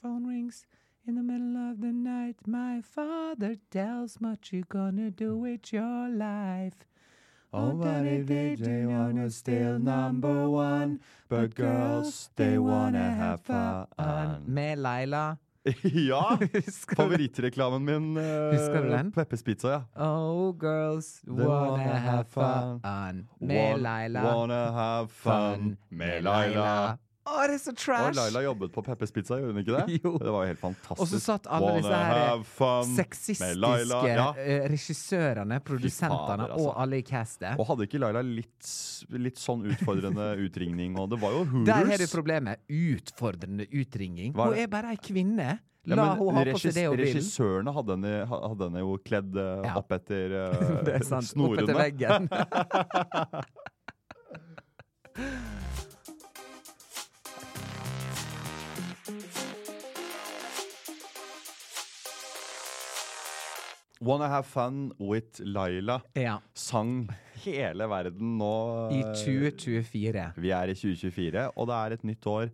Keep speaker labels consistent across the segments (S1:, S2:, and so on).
S1: Phone rings in the middle of the night. My father tells what you gonna do with your life.
S2: Oh, what if they, they wanna steal number one? But girls, they wanna have fun.
S1: Med Laila.
S2: ja!
S1: Husker du det?
S2: Favorittreklamen min. eh,
S1: Husker du den?
S2: Peppers Pizza, ja.
S1: Oh, girls wanna
S2: wanna
S1: have
S2: have
S1: fun. Med
S2: Wan-
S1: Laila.
S2: Wanna have fun med Laila.
S1: Å, det er så
S2: Og
S1: trash!
S2: Laila jobbet på Peppers Pizza, gjorde hun ikke det?
S1: Jo.
S2: Det var jo helt fantastisk.
S1: Og så satt alle
S2: Wanna
S1: disse her eh,
S2: have fun med
S1: sexistiske
S2: Laila. Ja.
S1: eh, regissørene, produsentene
S2: altså.
S1: og alle i castet.
S2: Og hadde ikke Laila litt, s- litt sånn utfordrende utringning? Og det var jo Hooters.
S1: Der har du problemet. Utfordrende utringning.
S2: Hva er
S1: Hun
S2: det?
S1: er bare ei kvinne. La
S2: Ja, men
S1: hun ha på
S2: regis-
S1: seg det hun vil.
S2: Regissørene hadde henne, ha- hadde henne jo kledd eh,
S1: Ja.
S2: opp etter
S1: Det
S2: eh,
S1: er sant. Oppe til
S2: snorene.
S1: veggen.
S2: Wanna have fun with Laila
S1: ja.
S2: sang hele verden nå.
S1: I
S2: eh,
S1: 2024.
S2: Vi er i 2024, og det er et nytt år.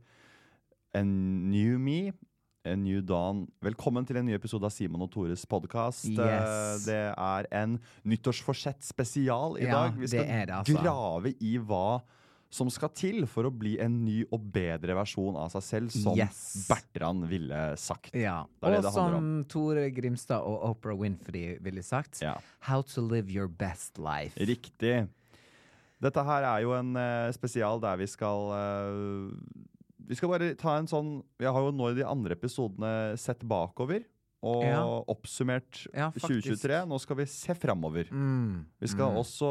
S2: A new me, a new dawn. Velkommen til en ny episode av Simon og Tores podkast.
S1: Yes.
S2: Det er en nyttårsforsett spesial i
S1: Ja,
S2: dag. Vi
S1: det
S2: skal
S1: er det, altså.
S2: grave i hva som skal til for å bli en ny og bedre versjon av seg selv, som
S1: Yes.
S2: Bertrand ville sagt.
S1: Ja.
S2: Det er det
S1: Og
S2: det handler
S1: som Tore Grimstad og Oprah Winfrey ville sagt,
S2: Ja.
S1: How to live your best life.
S2: Riktig. Dette her er jo en eh, spesial der vi skal eh, Vi skal bare ta en sånn Jeg har jo nå i de andre episodene sett bakover og
S1: Ja.
S2: oppsummert
S1: Ja, faktisk.
S2: 2023. Nå skal vi se framover.
S1: Mm.
S2: Vi skal også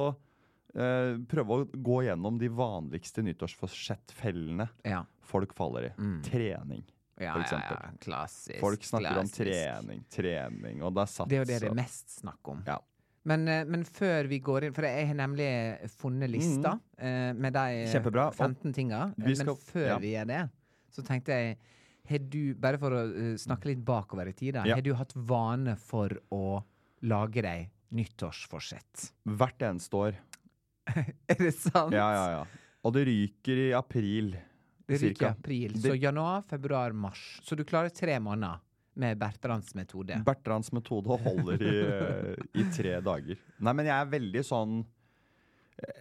S2: eh, prøve å gå gjennom de vanligste nyttårsforsettfellene
S1: Ja.
S2: folk faller i.
S1: Mm.
S2: Trening.
S1: Ja, ja, ja.
S2: For eksempel.
S1: Klassisk.
S2: Folk snakker om
S1: klassisk.
S2: trening, trening, og det er satt
S1: Det er jo det det
S2: så-
S1: er mest snakk om.
S2: Ja.
S1: Men, eh, men før vi går inn For jeg har nemlig funnet lista eh, med de eh,
S2: Mhm. Kjempebra, og
S1: 15 tinga. Eh,
S2: vi
S1: Men
S2: skal-
S1: før
S2: ja.
S1: vi gjør det, så tenkte jeg har du, Bare for å eh, snakke litt bakover i tid, da,
S2: Ja.
S1: har du hatt vane for å lage deg nyttårsforsett?
S2: Hvert eneste år.
S1: Er det sant?
S2: Ja, ja, ja. Og det ryker i april.
S1: Det ryker i
S2: cirka.
S1: april.
S2: Det-
S1: Så januar, februar, mars. Så du klarer tre måneder med Bertrands metode.
S2: Bertrands metode holder i, eh, i tre dager. Nei, men jeg er veldig sånn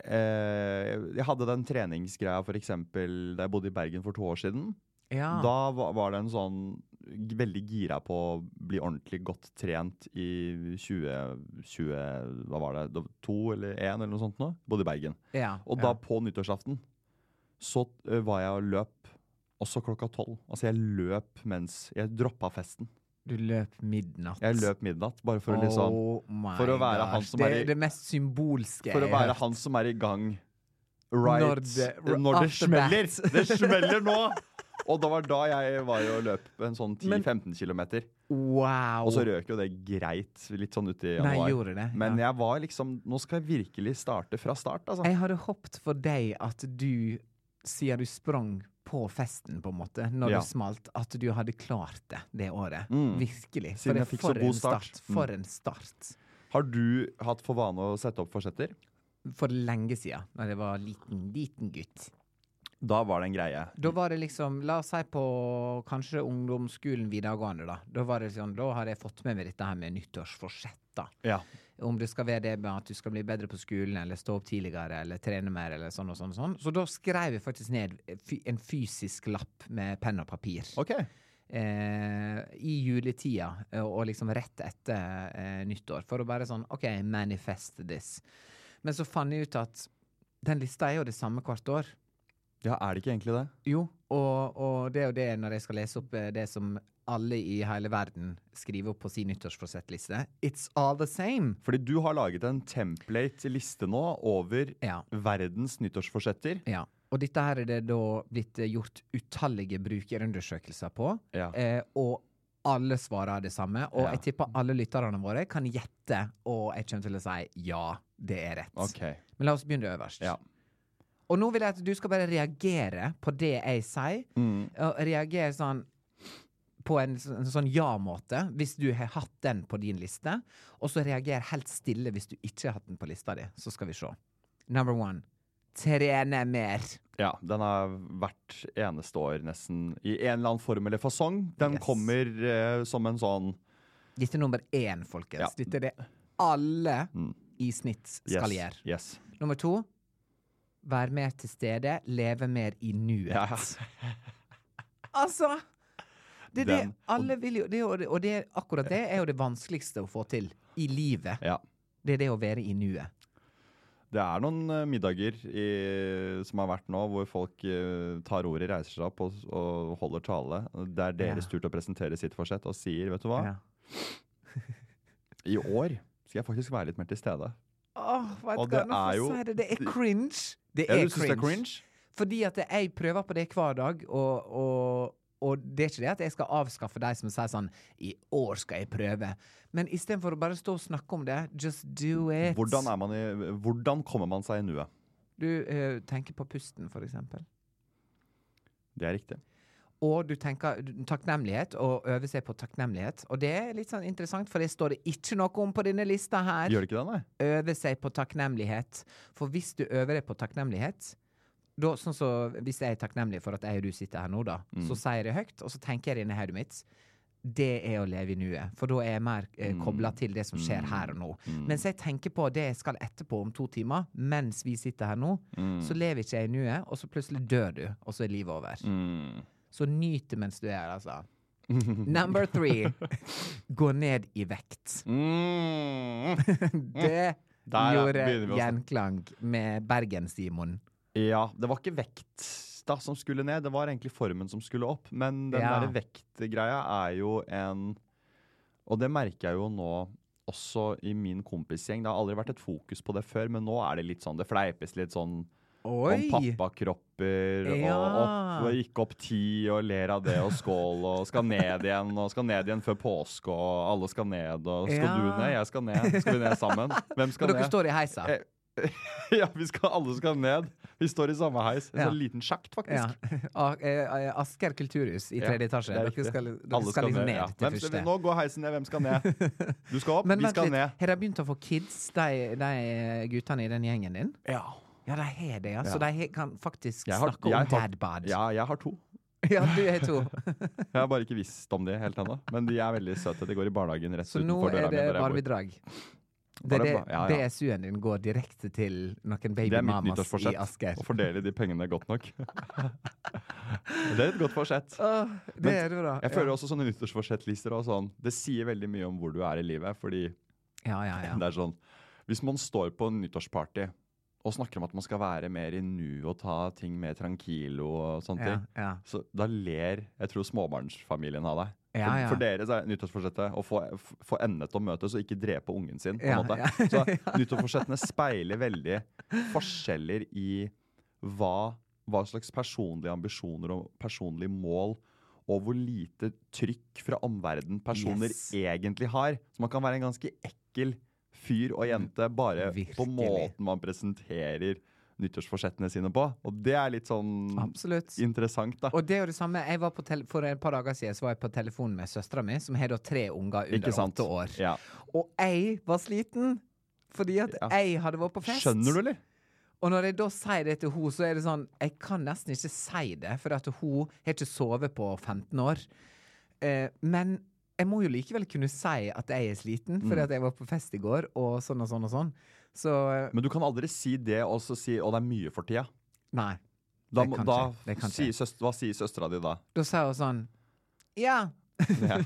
S2: eh, Jeg hadde den treningsgreia for eksempel da jeg bodde i Bergen for to år siden.
S1: Ja.
S2: Da va- var det en sånn g- veldig gira på å bli ordentlig godt trent i 2020 Hva var det? det? var To eller én eller noe sånt nå? Bodde i Bergen.
S1: ja.
S2: Og
S1: ja.
S2: da på nyttårsaften så eh, var jeg og løp også klokka tolv. Altså jeg løp mens Jeg droppa festen.
S1: Du løp midnatt.
S2: Jeg løp midnatt bare for å liksom
S1: Oh my
S2: for å være han som
S1: det,
S2: er i-
S1: Det mest symbolske
S2: For å
S1: jeg har
S2: være
S1: hørt.
S2: han som er i gang right
S1: Når
S2: Når
S1: det-
S2: det,
S1: off the bat.
S2: smeller! Det smeller nå! Og det var da jeg var jo og løp en sånn 10-15 km.
S1: Wow!
S2: Og så røk jo det greit litt sånn uti
S1: Nei,
S2: januar.
S1: gjorde det,
S2: Men
S1: ja.
S2: jeg var liksom Nå skal jeg virkelig starte fra start, altså.
S1: Jeg hadde håpet for deg at du, siden du sprang på festen, på en måte, når
S2: Ja.
S1: du smalt, at du hadde klart det det året.
S2: Mm.
S1: Virkelig.
S2: Siden
S1: det-
S2: jeg fikk så god
S1: en
S2: start. Mm.
S1: For en start.
S2: Har du hatt for vane å sette opp forsetter?
S1: For lenge siden, da jeg var liten, liten gutt.
S2: Da var det en greie.
S1: Da var det liksom, la oss si på kanskje ungdomsskolen videregående, da. Da var det sånn, da har jeg fått med meg dette her med nyttårsforsett, da.
S2: Ja.
S1: om det skal være det med at du skal bli bedre på skolen, eller stå opp tidligere, eller trene mer, eller sånn og sånn. og sånn. Så da skrev jeg faktisk ned fy- en fysisk lapp med penn og papir.
S2: OK.
S1: Eh, I juletida, eh, og liksom rett etter eh, nyttår, for å bare sånn OK, manifest this. Men så fant jeg ut at den lista er jo det samme hvert år.
S2: Ja, er det ikke egentlig det?
S1: Jo, og, og det er jo det når jeg skal lese opp eh, det som alle i hele verden skriver opp på sin nyttårsforsettliste. It's all the same!
S2: Fordi du har laget en template-liste nå over
S1: Ja.
S2: verdens nyttårsforsetter.
S1: Ja. Og dette her er det da blitt eh, gjort utallige brukerundersøkelser på,
S2: Ja.
S1: eh, og alle svarer det samme. Og
S2: Ja.
S1: jeg tipper alle lytterne våre kan gjette, og jeg kommer til å si ja, det er rett.
S2: Ok.
S1: Men la oss begynne øverst.
S2: Ja.
S1: Og nå vil jeg at du skal bare reagere på det jeg sier,
S2: Mm.
S1: og reagere sånn på en, så- en sånn ja-måte, hvis du har hatt den på din liste. Og så reager helt stille hvis du ikke har hatt den på lista di. Så skal vi se. Number one. Trene mer.
S2: Ja, den har hvert eneste år nesten i en eller annen form eller fasong. Den
S1: Yes.
S2: kommer eh, som en sånn
S1: Dette er nummer én, folkens.
S2: Ja.
S1: Dette er det alle
S2: Mm.
S1: i snitt
S2: yes,
S1: skal gjøre.
S2: Yes.
S1: Nummer to. Vær mer til stede, leve mer i nuet.
S2: Ja.
S1: Altså! Det er det
S2: Den-
S1: alle vil jo det er, jo- Og det, er akkurat det er jo det vanskeligste å få til i livet.
S2: Ja.
S1: Det er det å være i nuet.
S2: Det er noen eh, middager i, som har vært nå, hvor folk eh, tar ordet, reiser seg opp og, og holder tale. Det er deres
S1: Ja.
S2: tur til å presentere sitt forsett og sier, vet du hva,
S1: Ja.
S2: i år skal jeg faktisk være litt mer til stede.
S1: Åh, vet
S2: Og
S1: du hva,
S2: det
S1: nå får
S2: er
S1: jeg
S2: jo-
S1: si det. Det er cringe. Det
S2: Ja,
S1: er
S2: du syns det er
S1: cringe.
S2: cringe?
S1: Fordi at jeg prøver på det hver dag, og, og, og det er ikke det at jeg skal avskaffe de som sier sånn I år skal jeg prøve. Men istedenfor å bare stå og snakke om det, just do it.
S2: Hvordan, er man i, hvordan kommer man seg i nuet?
S1: Du eh, tenker på pusten, for eksempel.
S2: Det er riktig.
S1: Og du tenker du- takknemlighet, og øver seg på takknemlighet. Og det er litt sånn interessant, for det står det ikke noe om på denne lista her.
S2: Gjør det ikke det, nei?
S1: øve seg på takknemlighet. For hvis du øver deg på takknemlighet da, sånn så, Hvis jeg er takknemlig for at jeg og du sitter her nå, da,
S2: Mm.
S1: så sier jeg det høyt, og så tenker jeg det inni hodet mitt. Det er å leve i nuet, for da er jeg mer eh,
S2: Mm.
S1: kobla til det som skjer her og nå. Mens jeg tenker på det jeg skal etterpå om to timer, mens vi sitter her nå,
S2: Mm,
S1: så lever ikke jeg i nuet, og så plutselig dør du, og så er livet over.
S2: Mm.
S1: Så nyt det mens du er her, altså. Number three. Gå ned i vekt.
S2: Mm.
S1: Det
S2: Der
S1: gjorde
S2: begynner vi å snakke.
S1: gjenklang med Bergen-Simon.
S2: Ja, det var ikke vekt da som skulle ned, det var egentlig formen som skulle opp. Men den
S1: Ja.
S2: der vektgreia er jo en Og det merker jeg jo nå også i min kompisgjeng. Det har aldri vært et fokus på det før, men nå er det litt sånn, det fleipes litt sånn om pappakropper og
S1: Ja.
S2: opp, og gikk opp ti og ler av det og skål og skal ned igjen og skal ned igjen før påske og alle skal ned og skal du
S1: Ja.
S2: ned, jeg skal ned, skal vi ned sammen? Hvem
S1: Og
S2: skal
S1: dere
S2: ned?
S1: står i heisa.
S2: Eh, Ja, vi skal, alle skal ned. Vi står i samme heis. En
S1: Ja.
S2: sånn liten sjakt, faktisk.
S1: Ja. A- eh, Asker kulturhus i
S2: Ja,
S1: tredje
S2: det
S1: etasje.
S2: er
S1: Dere
S2: riktig.
S1: skal, dere
S2: Alle
S1: skal liksom ned
S2: ja.
S1: til
S2: Hvem skal-
S1: første.
S2: Nå går heisen ned, hvem skal ned? Du skal opp,
S1: Men
S2: vi
S1: vent
S2: skal
S1: litt,
S2: ned.
S1: har de begynt å få kids, de, de guttene i den gjengen din?
S2: Ja.
S1: Ja, de har det, ja. Så
S2: Ja.
S1: de he- kan faktisk
S2: Jeg har-
S1: snakke
S2: jeg
S1: om
S2: har-
S1: dadbad. Ja.
S2: ja, jeg har to.
S1: du er to.
S2: Jeg har bare ikke visst om de helt ennå. Men de er veldig søte. De går i barnehagen rett
S1: Så nå
S2: utenfor
S1: er det
S2: døra mi. der jeg bor.
S1: barnebidrag. Det er det,
S2: Barnebra- ja, ja.
S1: BSU-en din går direkte til noen
S2: Det er mitt
S1: babymamas i
S2: nyttårsforsett.
S1: Asker.
S2: Å fordele de pengene godt nok. det er et godt forsett.
S1: Åh, det
S2: Men
S1: er det bra.
S2: Jeg føler også sånne nyttårsforsettlister og sånn. Det sier veldig mye om hvor du er i livet, fordi
S1: ja, ja, ja.
S2: Det er sånn, Hvis man står på en nyttårsparty og snakker om at man skal være mer i nu og ta ting mer tranquilo og sånne
S1: ja,
S2: ting,
S1: ja.
S2: så da ler jeg tror småbarnsfamilien av deg.
S1: Ja,
S2: For-
S1: ja.
S2: For dere så er nyttårsforsettet å få, f- få endene til å møtes og ikke drepe ungen sin. på en
S1: Ja,
S2: måte.
S1: ja.
S2: Så nyttårsforsettene speiler veldig forskjeller i hva, hva slags personlige ambisjoner og personlige mål og hvor lite trykk fra omverdenen personer
S1: Yes.
S2: egentlig har. Så man kan være en ganske ekkel fyr og jente bare på
S1: Virkelig.
S2: måten man presenterer nyttårsforsettene sine på. Og det er litt sånn
S1: Absolutt.
S2: interessant, da.
S1: Og det er jo det samme. Jeg var på tele for et par dager siden så var jeg på telefonen med søstera mi, som har da tre unger
S2: Ikke
S1: under
S2: sant?
S1: åtte år.
S2: Ja.
S1: Og jeg var sliten. Fordi at
S2: Ja.
S1: jeg hadde vært på fest.
S2: Skjønner du, eller?
S1: Og når jeg da sier det til henne, så er det sånn Jeg kan nesten ikke si det, for at hun har ikke sovet på 15 år. Eh, men jeg må jo likevel kunne si at jeg er sliten,
S2: Mm.
S1: fordi at jeg var på fest i går, og sånn og sånn og sånn. Så eh,
S2: Men du kan aldri si det og så si 'å, det er mye for tida'.
S1: nei.
S2: Da,
S1: Det
S2: må-
S1: kan
S2: da
S1: skje, det kan
S2: sier søs- hva sier søstera di da?
S1: Da sier hun sånn Ja,
S2: Ja.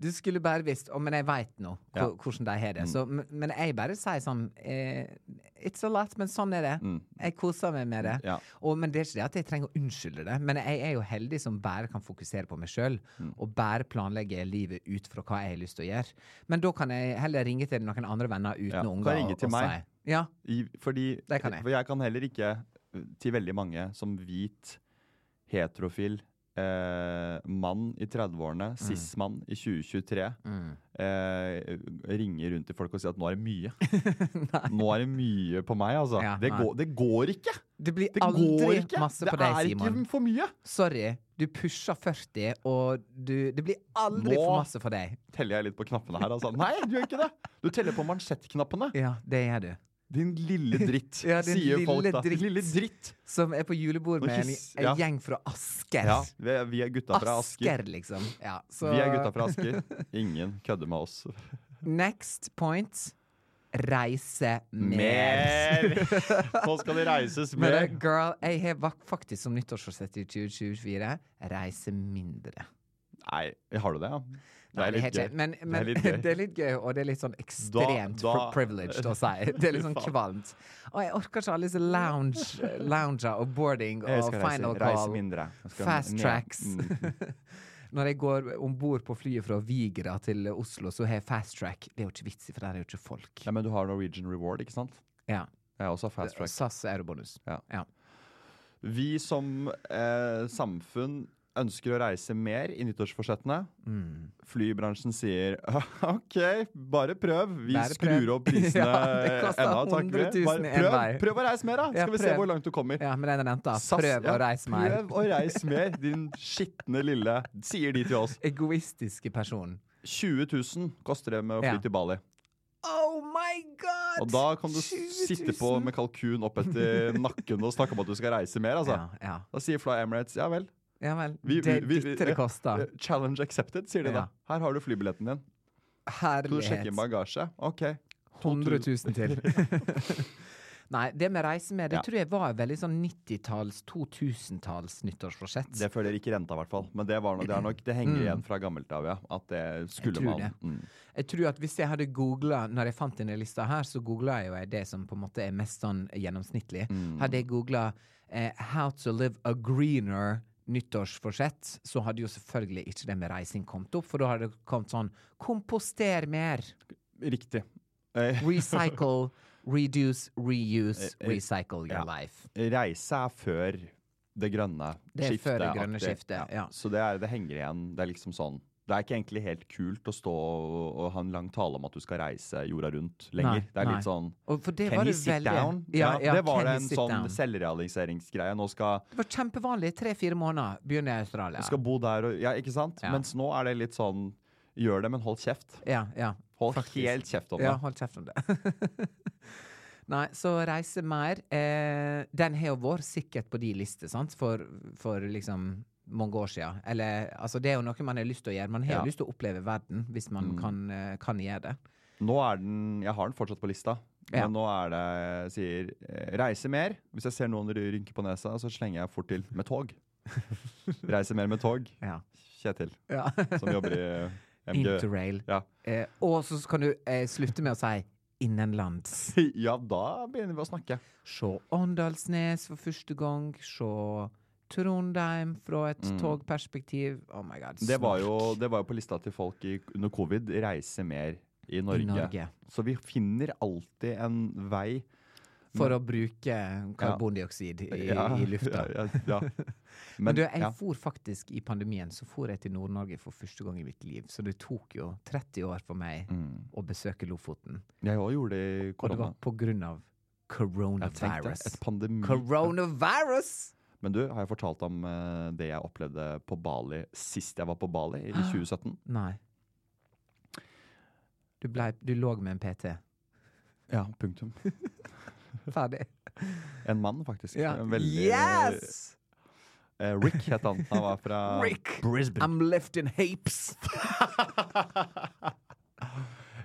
S1: Du skulle bare visst å, Men jeg veit nå hvor-
S2: Ja. Mm.
S1: hvordan de har det. Så, men- men jeg bare sier sånn eh, It's a lot, men sånn er det.
S2: Mm.
S1: Jeg koser meg med det.
S2: Ja.
S1: Og, men det er ikke det at jeg trenger å unnskylde det. Men jeg er jo heldig som bare kan fokusere på meg sjøl,
S2: Mm.
S1: og bare planlegge livet ut fra hva jeg har lyst til å gjøre. Men da kan jeg heller ringe til noen andre venner uten
S2: Ja,
S1: unger.
S2: kan ringe
S1: og-
S2: til
S1: og
S2: meg.
S1: si- Ja,
S2: I, fordi
S1: Det kan jeg.
S2: For jeg kan heller ikke eh, til veldig mange som hvit, heterofil eh, mann i 30-årene, cis-mann i 2023,
S1: Mm.
S2: eh, ringer rundt til folk og sier at nå er det mye.
S1: Nei.
S2: Nå er det mye på meg, altså.
S1: Ja,
S2: det,
S1: nei.
S2: går, det går ikke!
S1: Det blir
S2: Det går
S1: aldri
S2: ikke!
S1: masse
S2: det
S1: på deg,
S2: er
S1: Simon.
S2: ikke for mye!
S1: Sorry. Du pusher 40, og du Det blir aldri
S2: Nå-
S1: for masse for deg.
S2: Teller jeg litt på knappene her, altså. Nei, du gjør ikke det! Du teller på mansjettknappene.
S1: Ja, det gjør du.
S2: Din lille dritt,
S1: Ja, din
S2: sier folk
S1: lille
S2: da.
S1: dritt.
S2: Din lille dritt.
S1: Som er på julebord
S2: Nå
S1: med en,
S2: kyss-
S1: en
S2: ja.
S1: gjeng fra Asker.
S2: Ja, vi er, vi er gutta fra Asker.
S1: Asker, liksom. Ja, så
S2: Vi er gutta fra Asker. Ingen kødder med oss.
S1: Next point. Reise mer.
S2: Mer! Nå skal det reises
S1: Men
S2: mer.
S1: eh, girl, jeg har vak- faktisk som nyttårsforsett i 2024 reise mindre.
S2: Nei, har du det, ja? Det
S1: Nei,
S2: er litt
S1: helt
S2: gøy.
S1: ikke- Men, men det, er litt gøy. og det er litt sånn ekstremt
S2: Da- da-
S1: fr- privileged å si. Det er litt
S2: Fy
S1: sånn
S2: faen.
S1: kvalmt. Og jeg orker ikke alle disse lounge, lounger og boarding
S2: Jeg
S1: og
S2: skal
S1: final
S2: reise, reise
S1: call.
S2: mindre. Jeg skal
S1: Fast
S2: ned.
S1: tracks.
S2: Mm.
S1: Når jeg går om bord på flyet fra Vigra til Oslo, så har jeg fast track. Det er jo ikke vits i, for der er jo ikke folk.
S2: Nei, men du har Norwegian Reward, ikke sant?
S1: Ja.
S2: Jeg har også fast track.
S1: SAS eurobonus.
S2: Ja.
S1: Ja.
S2: Vi som eh, samfunn ønsker å reise mer i nyttårsforsettene.
S1: Mm.
S2: Flybransjen sier OK, bare prøv. Vi
S1: Bare prøv.
S2: skrur opp prisene
S1: Ja, det koster
S2: enda, takk.
S1: 100 000
S2: Bare
S1: en
S2: prøv,
S1: vei.
S2: prøv å reise mer, da!
S1: Ja,
S2: Skal vi se
S1: prøv.
S2: hvor langt du kommer.
S1: ja, men den er nevnt, da.
S2: SAS,
S1: Prøv
S2: ja,
S1: å reise mer.
S2: Prøv å reise mer, din skitne lille Sier de til oss.
S1: Egoistiske person.
S2: 20 000 koster det med å fly
S1: Ja.
S2: til Bali.
S1: Oh my god!
S2: Og da kan du
S1: 20 000.
S2: sitte på med kalkun opp etter nakken og snakke om at du skal reise mer, altså.
S1: Ja, ja.
S2: Da sier Fly Emirates ja vel.
S1: ja vel.
S2: Vi-
S1: det er
S2: vi- vi-
S1: dette det koster.
S2: eh, Challenge accepted, sier de
S1: Ja.
S2: da. Her har du flybilletten din. Skal eh, du sjekke
S1: Herlighet.
S2: inn bagasje? OK.
S1: 100 000 til. Nei, det med reise med, det
S2: Ja.
S1: tror jeg var et veldig sånn 90-talls, 2000-talls nyttårsforsett.
S2: Det følger ikke renta, i hvert fall. Men det, var no, det, er nok, det henger igjen fra gammelt av, ja. At det skulle
S1: Mm. Jeg tror
S2: man.
S1: det.
S2: Mm.
S1: Jeg tror at hvis jeg hadde googla Når jeg fant denne lista her, så googla jeg jo det som på en måte er mest sånn gjennomsnittlig.
S2: Mm.
S1: Hadde jeg googla eh, 'How to live a greener nyttårsforsett', så hadde jo selvfølgelig ikke det med reising kommet opp, for da hadde det kommet sånn 'Komposter mer'.
S2: Riktig. Eh,
S1: Recycle, reduce, reuse,
S2: Eh, eh,
S1: recycle your
S2: ja.
S1: life.
S2: reise er før det grønne skiftet.
S1: Det er før det grønne
S2: at
S1: skiftet, ja.
S2: Så det, er, det henger igjen. Det er liksom sånn Det er ikke egentlig helt kult å stå og, og ha en lang tale om at du skal reise jorda rundt lenger.
S1: Nei,
S2: det er
S1: nei.
S2: litt sånn
S1: Og for det
S2: Can
S1: var
S2: you
S1: det
S2: sit
S1: veldig
S2: down?
S1: Ja, ja,
S2: det var
S1: can
S2: det
S1: you
S2: en
S1: sit
S2: sånn
S1: down?
S2: selvrealiseringsgreie. Nå skal
S1: Det var kjempevanlig. Tre-fire måneder begynner jeg i Australia.
S2: skal bo der og Ja, ikke sant?
S1: Ja.
S2: Mens nå er det litt sånn Gjør det, men hold kjeft.
S1: Ja, ja.
S2: Hold
S1: Faktisk.
S2: helt kjeft om det.
S1: Ja, hold kjeft om det. Nei, så reise mer. Eh, den har jo vært sikkert på de listene, sant, for, for liksom mange år siden. Eller, altså, det er jo noe man har lyst til å gjøre. Man har
S2: Ja. Mm.
S1: jo lyst til å oppleve verden, hvis man kan, eh, kan gjøre det.
S2: Nå er den Jeg har den fortsatt på lista.
S1: Ja.
S2: Men nå er det jeg sier eh, reise mer. Hvis jeg ser noen ry- rynke på nesa, så slenger jeg fort til med tog. reise mer med tog.
S1: Ja.
S2: Kjetil,
S1: ja.
S2: som jobber i eh, MG.
S1: Interrail.
S2: Ja.
S1: Eh, og så kan du eh, slutte med å si innenlands.
S2: ja, da begynner vi å snakke.
S1: Se Åndalsnes for første gang. Se Trondheim fra et togperspektiv. Oh my god.
S2: Mm. Det var,
S1: snork.
S2: jo, det var jo på lista til folk i, under covid. Reise mer i Norge.
S1: I Norge.
S2: Så vi finner alltid en vei.
S1: For å bruke karbondioksid i, i lufta.
S2: Mm. Ja, ja, ja. Men,
S1: Men du, jeg
S2: ja.
S1: for faktisk i pandemien så for jeg til Nord-Norge for første gang i mitt liv. Så det tok jo 30 år for meg å besøke Lofoten.
S2: Mm. Jeg òg gjorde det i
S1: Mm. Og det
S2: korona.
S1: var på grunn av
S2: Jeg tenkte
S1: coronavirus.
S2: et pandemi...
S1: Coronavirus!
S2: Men du, har jeg fortalt om eh, det jeg opplevde på Bali sist jeg var på Bali, i
S1: Ah.
S2: 2017?
S1: Nei. Du, blei, du lå med en PT.
S2: Ja, punktum.
S1: Ferdig.
S2: En mann, faktisk. En Veldig,
S1: Yes!
S2: eh, Rick het han. Han var fra
S1: Rick.
S2: Brisbane.
S1: I'm left in hapes.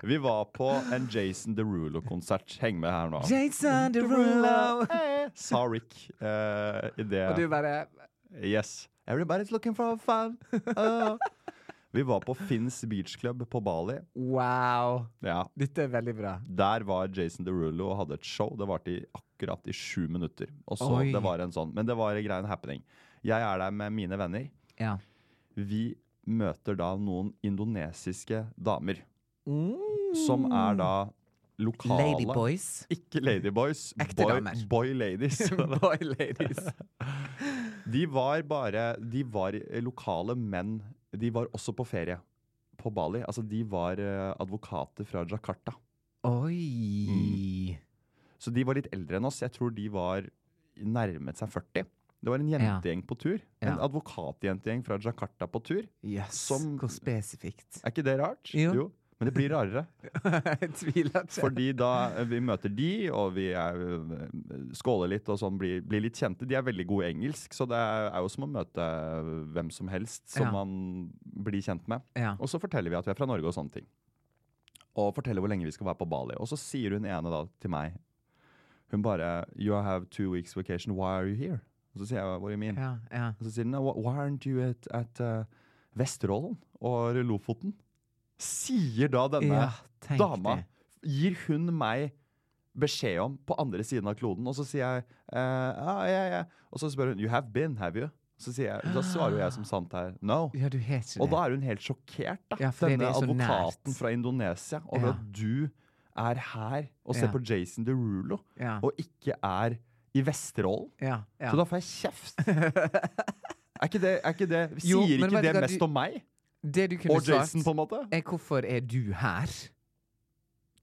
S2: Vi var på en Jason Derulo-konsert. Heng med her nå.
S1: Jason Derulo.
S2: Eh, Sa Rick eh, i det
S1: Og du bare
S2: Yes. Everybody's looking for fun. Ah. Vi var på Finns Beach Club på Bali.
S1: Wow.
S2: Ja,
S1: Dette er veldig bra.
S2: Der var Jason Derulo og hadde et show. Det varte i akkurat i sju minutter. Og så
S1: Oi.
S2: det var en sånn, Men det var en greie, en happening. Jeg er der med mine venner.
S1: Ja.
S2: Vi møter da noen indonesiske damer. Som er da lokale
S1: Mm. Ladyboys.
S2: Ikke Ladyboys.
S1: Ekte
S2: boy,
S1: damer.
S2: boy Ladies.
S1: Boy ladies.
S2: De var bare De var lokale menn. De var også på ferie på Bali. Altså, de var eh, advokater fra Jakarta. Mm.
S1: Oi.
S2: Så de var litt eldre enn oss. Jeg tror de var nærmet seg 40. Det var en
S1: Ja.
S2: jentegjeng på tur. En
S1: Ja.
S2: advokatjentegjeng fra Jakarta på tur.
S1: Jøss,
S2: Som-
S1: hvor spesifikt.
S2: Er ikke det rart?
S1: Jo.
S2: Men det blir rarere.
S1: Jeg tviler ikke.
S2: Fordi da eh, vi møter de, og vi er, eh, skåler litt og sånn, blir, blir litt kjente. De er veldig gode i engelsk, så det er jo som å møte eh, hvem som helst som
S1: Ja.
S2: man blir kjent med.
S1: Ja.
S2: Og så forteller vi at vi er fra Norge og sånne ting. Og forteller hvor lenge vi skal være på Bali. Og så sier hun ene da til meg Hun bare You have two weeks vacation, why are you here? Og så sier jeg What do you mean?
S1: Ja, ja.
S2: Og så sier hun no, Why aren't you at, at uh, Vesterålen og Lofoten? Sier da denne
S1: ja tenk
S2: dama
S1: det.
S2: Gir hun meg beskjed om på andre siden av kloden, og så sier jeg eh, ah, ja, ja. Og så spør hun You have been, have you? Så sier jeg, da svarer jo jeg som sant her No.
S1: Ja, du har ikke det.
S2: Og da er hun helt sjokkert, da.
S1: Ja, fordi
S2: Denne
S1: det er så
S2: advokaten
S1: nært.
S2: fra Indonesia over
S1: Ja.
S2: at du er her og ser
S1: Ja.
S2: på Jason Derulo,
S1: ja.
S2: og ikke er i Vesterålen.
S1: Ja, ja.
S2: Så da får jeg kjeft! er ikke det, er ikke det Sier
S1: Jo, men
S2: ikke
S1: vet du
S2: det
S1: hva,
S2: mest
S1: du-
S2: om meg
S1: det du kunne
S2: og Jason,
S1: svart,
S2: på en måte?
S1: er hvorfor er du her?